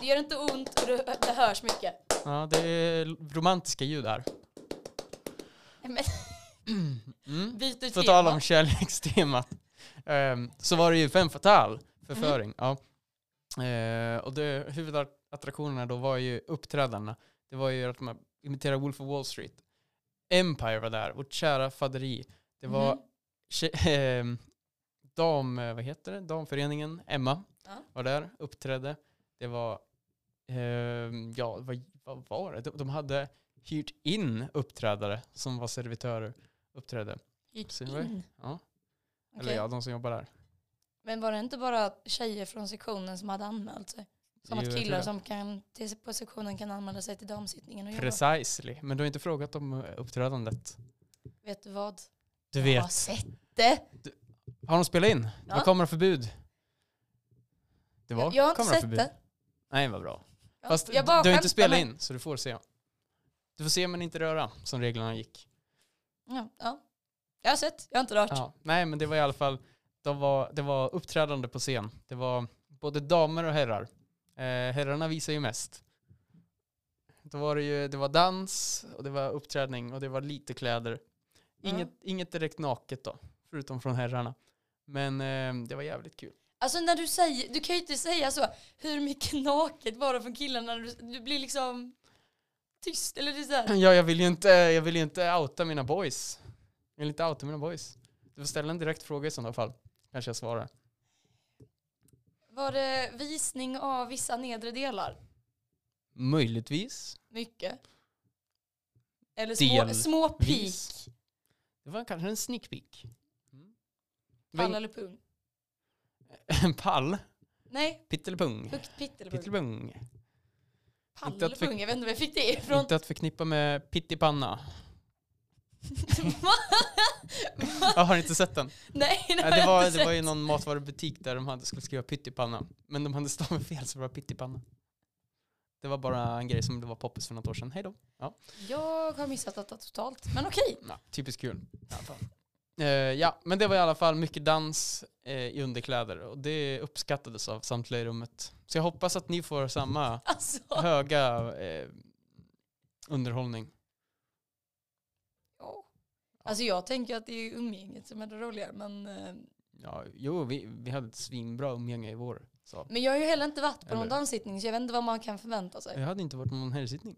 Det gör inte ont och det, det hörs mycket.
Ja, det är romantiska ljud här.
Nej, Men
Mm.
byter
På
tema.
tal om kärlekstemat. Ehm, så var det ju fem fatal förföring.
Mhm.
Ja. Eh, och det, huvudattraktionerna då var ju uppträdarna. Det var ju att man imiterade Wolf of Wall Street. Empire var där, vårt kära faderi. Det var
Mhm.
tje- ehm, dam, eh, vad heter det? damföreningen, Emma,
Ja.
var där, uppträdde. Det var, ehm, ja, vad, vad var det? De, de hade hyrt in uppträdare som var servitörer, uppträdde.
Gick
Silver?
in.
Ja. Eller
Okej.
ja, de som jobbar där.
Men var det inte bara tjejer från sektionen som hade anmält sig? Som
Jo,
att
jag tror
killar
det.
som kan, till- på sektionen kan anmäla sig till damsittningen och jobba.
Precisely. Men du har inte frågat om eh, uppträdandet.
Vet du vad?
Du
Jag har
vet.
sett det.
Har de spelat in? Det
Ja.
var kameraförbud. Det var
Jag, jag har inte sett
kameraförbud.
det.
Nej, vad bra.
Ja,
Fast
jag bara
du har inte
skämtar,
spelat
men-
in, så du får se. Du får se men inte röra, som reglerna gick.
Ja, ja. Jag har sett, jag har inte rört.
Ja, nej, men det var i alla fall, de var, det var uppträdande på scen. Det var både damer och herrar. Eh, herrarna visar ju mest. Då var det ju, det var dans och det var uppträdning och det var lite kläder. Inget,
Mm.
inget direkt naket då, förutom från herrarna. Men eh, det var jävligt kul.
Alltså när du säger, du kan ju inte säga så, hur mycket naket var det från killarna? Du, du blir liksom tyst, eller det är så här.
Ja, jag vill ju inte, jag vill ju inte outa mina boys. Jag vill inte outa mina boys. Du får ställa en direkt fråga i sådana fall. Kanske jag svarar.
Var det visning av vissa nedre delar?
Möjligtvis.
Mycket. Eller små,
Del.
små pik,
Vis. Det var kanske en sneak peek. Det var
pall eller pung?
En pall.
Nej,
Pittelpung.
högt pittelpung.
Pittelpung.
Pall
Inte att
eller pung, jag vet inte var jag fick det ifrån.
Inte att förknippa med pittipanna.
Va?
Jag har inte sett den.
Nej, det
Nej,
har
det,
jag
var,
inte
det var
sett.
ju någon matvarubutik där de hade, skulle skriva pyttipanna. Men de hade stavat fel så det var pyttipanna. Det var bara en grej som det var poppis för något år sedan. Hej då.
Jag har missat detta totalt, men okej.
Ja, typiskt kul. i alla fall. Eh, ja, men det var i alla fall mycket dans eh, i underkläder och det uppskattades av samtliga i rummet. Så jag hoppas att ni får samma
Alltså,
höga eh, underhållning.
ja. alltså jag tänker att det är umgänget som är det roliga, men eh,
Ja, jo, vi, vi hade ett svinbra umgänge i vår. Så.
Men jag har ju heller inte varit på någon
Eller?
danssittning så jag vet inte vad man kan förvänta sig.
Jag hade inte varit på någon herrsittning.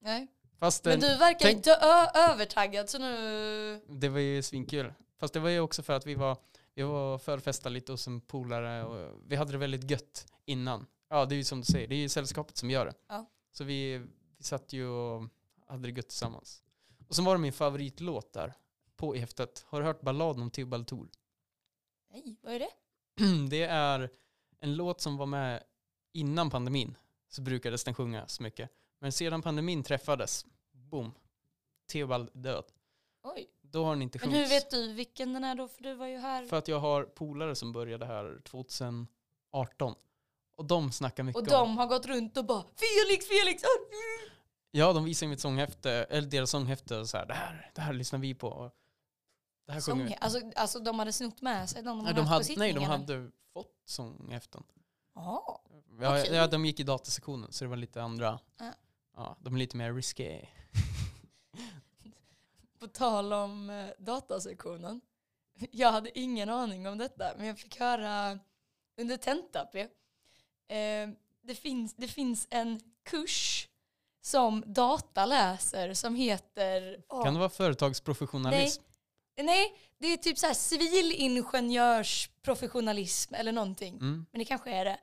Nej.
Fast
Men
den,
du verkar
tänk-
inte ö- övertaggad så nu...
det var ju svinkul. Fast det var ju också för att vi var, vi var förfestade lite hos en polare och vi hade det väldigt gött innan. Ja, det är ju som du säger, det är ju sällskapet som gör det.
Ja.
Så vi, vi satt ju och hade det gött tillsammans. Och sen var det min favoritlåt där på i häftet. Har du hört Balladen om Tibble Thor?
Nej, vad är det?
det är en låt som var med innan pandemin. Så brukades den sjungas mycket. Men sedan pandemin träffades, boom, Theobald död.
Oj.
Då har den inte
Men
sjungits.
hur vet du vilken den är då? För du var ju här.
För att jag har polare som började här 2018. Och de snackar mycket
Och
om
de har gått runt och bara Felix, Felix! ah, mm."
Ja, de visar ju mitt sånghäfte, eller deras sånghäfte och så här, det här, det här lyssnar vi på. Och Det här sjunger
Sång.
vi.
Alltså, alltså de hade snott med sig de de
Nej, de
haft på
hade, nej, de
sittningen.
hade fått sånghäften.
Jaha.
Ja,
Okej.
ja, de gick i datasektionen så det var lite andra.
Ja.
Ja, de är lite mer risky.
På tal om eh, datasektionen. Jag hade ingen aning om detta, men jag fick höra under tenta-p. Eh, det, finns, det finns en kurs som data läser som heter... åh,
Kan det vara företagsprofessionalism?
Nej, det är typ så här civilingenjörsprofessionalism eller någonting.
Mm.
Men det kanske är det.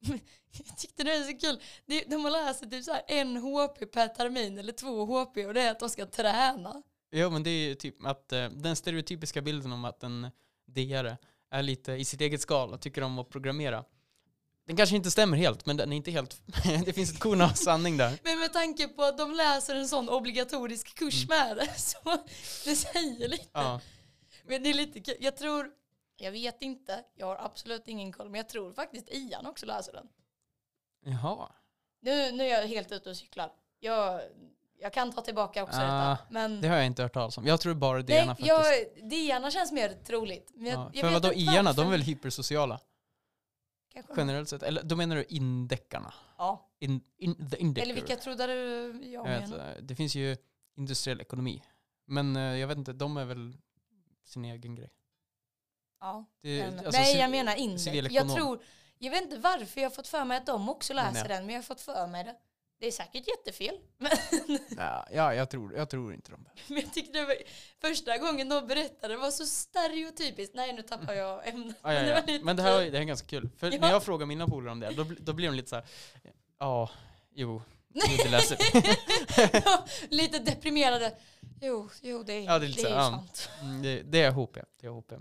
Jag tyckte det var så kul. Det- De har lärt sig typ så här en HP per termin eller två HP och det är att de ska träna.
Ja, men det är ju typ att eh, den stereotypiska bilden om att en DR är lite i sitt eget skal och tycker om att programmera. Den kanske inte stämmer helt, men den är inte helt... det finns ett korn av sanning där.
Men med tanke på att de läser en sån obligatorisk kurs
Mm.
med det så det säger lite.
Ja.
Men det är lite kul. Jag tror, jag vet inte, jag har absolut ingen koll, men jag tror faktiskt Ian också läser den.
Jaha.
Nu, nu är jag helt ute och cyklar. Jag, jag kan ta tillbaka också
Ah,
detta. Men
Det har jag inte hört talas om. Jag tror bara det
nej,
ena faktiskt.
jag, Diana känns mer troligt. Men jag,
Ja,
jag
för
vet
vadå,
inte
iarna,
varför.
de är väl hypersociala?
Kanske-
Generellt sett. Eller då menar du indeckarna?
Ja.
In, in, the indecker.
Eller vilka trodde du jag
jag vet,
menade?
eh, Det finns ju industriell ekonomi. Men eh, jag vet inte, de är väl sin egen grej.
Ja.
Det,
men-
alltså,
nej,
ci-
jag menar inte. Jag
civilekonom.
tror, jag vet inte varför jag har fått för mig att de också läser
Nej.
den, men jag har fått för mig det. Det är säkert jättefel. Men
Ja, ja jag, tror, jag tror inte de.
Men jag tyckte det var första gången de berättade det var så stereotypiskt. Nej, nu tappar jag ämnet.
Ah, ja,
Men
ja.
det var lite
Men det här
kul.
det här är ganska kul. För
Ja.
när jag frågar mina polare om det, då, bl- då blir de lite så här, ja, jo, jo, det läser vi."
Ja, lite deprimerade. Jo, jo det är,
Ja,
det
det
är,
är lite
ju
så, ja.
sant.
Mm, det, det är HP. Det är HP.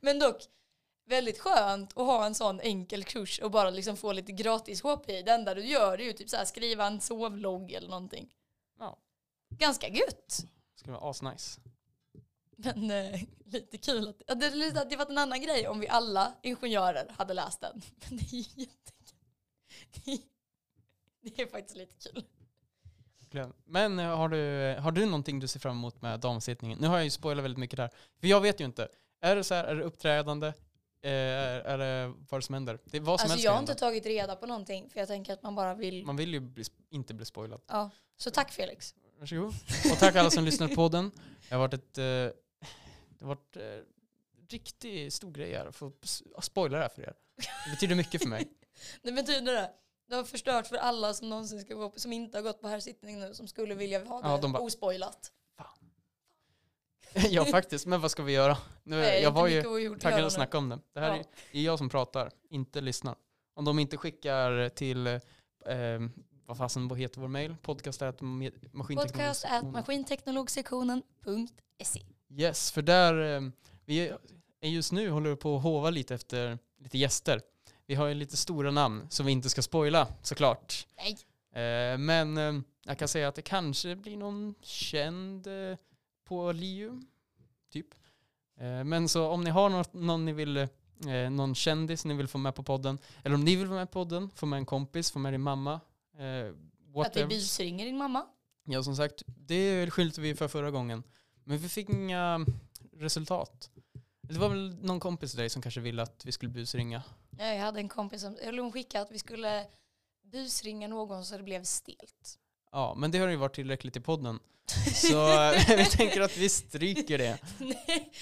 Men dock, väldigt skönt att ha en sån enkel kurs och bara liksom få lite gratis HP. Det enda du gör är ju typ så här, skriva en sovlogg eller någonting.
Ja,
Ganska gött.
det skulle vara asnice.
Men eh, lite kul att ja, det, är lite att det varit en annan grej om vi alla ingenjörer hade läst den. Men det är ju jättekul. Det är, det är faktiskt lite kul.
Glöm. Men eh, har du, har du någonting du ser fram emot med damsittningen? Nu har jag ju spoilat väldigt mycket där. För jag vet ju inte. Är det så här, är det uppträdande? Eh, är, är det vad som händer? Det är vad som
Alltså
helst
jag
kan
har inte
hända.
tagit reda på någonting för jag tänker att man bara vill.
Man vill ju bli, sp- inte bli spoilad.
Ja. Så tack Felix.
Varsågod. Och tack alla som lyssnar på podden. Det har varit ett... Eh, det har varit eh, riktigt stor grej här. att Få s- spoila det här för er. Det betyder mycket för mig.
Det betyder det. Det har förstört för alla som någonsin ska gå på, som inte har gått på här sittning nu som skulle vilja ha det
Ja, de bara-
ospoilat.
ja, faktiskt. Men vad ska vi göra? Nu,
Nej,
Eh, jag
inte
var ju
mycket ogjort att
taggad
göra
att
nu.
snacka om det. Det här
Ja.
är, det är jag som pratar, inte lyssnar. Om de inte skickar till, eh, vad fasen vad heter vår mail? Podcast at
Podcast at maskinteknologsektionen.se
Yes, för där, eh, vi är just nu håller vi på att hova lite efter lite gäster. Vi har ju lite stora namn som vi inte ska spoila såklart.
Nej.
Eh, men eh, jag kan säga att det kanske blir någon känd eh, på LiU, typ. Eh, men så om ni har något, någon ni vill, eh, någon kändis ni vill få med på podden, eller om ni vill vara med på podden, få med en kompis, få med din mamma, eh,
Att vi
whatever.
busringer din mamma.
Ja, som sagt, det skyllde vi för förra gången. Men vi fick inga resultat. Det var väl någon kompis till dig som kanske ville att vi skulle busringa.
Ja, Jag hade en kompis som eller hon skickade att vi skulle busringa någon så det blev stelt.
Ja, men det har ju varit tillräckligt i podden. Så vi tänker att vi stryker det.
Nej,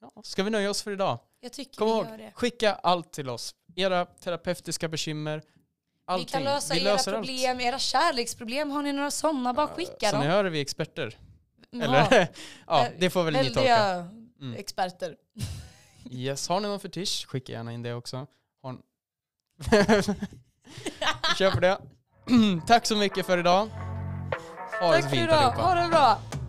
Ja, ska vi nöja oss för idag?
jag tycker
Kom
vi
ihåg,
gör det.
skicka allt till oss. Era terapeutiska bekymmer, allting.
Vi kan lösa
Vi
era
löser allt.
problem, era kärleksproblem. Har ni några sådana, bara skicka
Som ni
dem.
hör är vi experter.
Ja,
Eller? ja, det får väl ni tolka.
Väldiga
Mm.
experter.
Yes, har ni någon fetisch, skicka gärna in det också. Har ni... Kör på det. Tack så mycket för idag. Ha det
Tack
så
för
fint
idag, ha
allihopa.
det bra.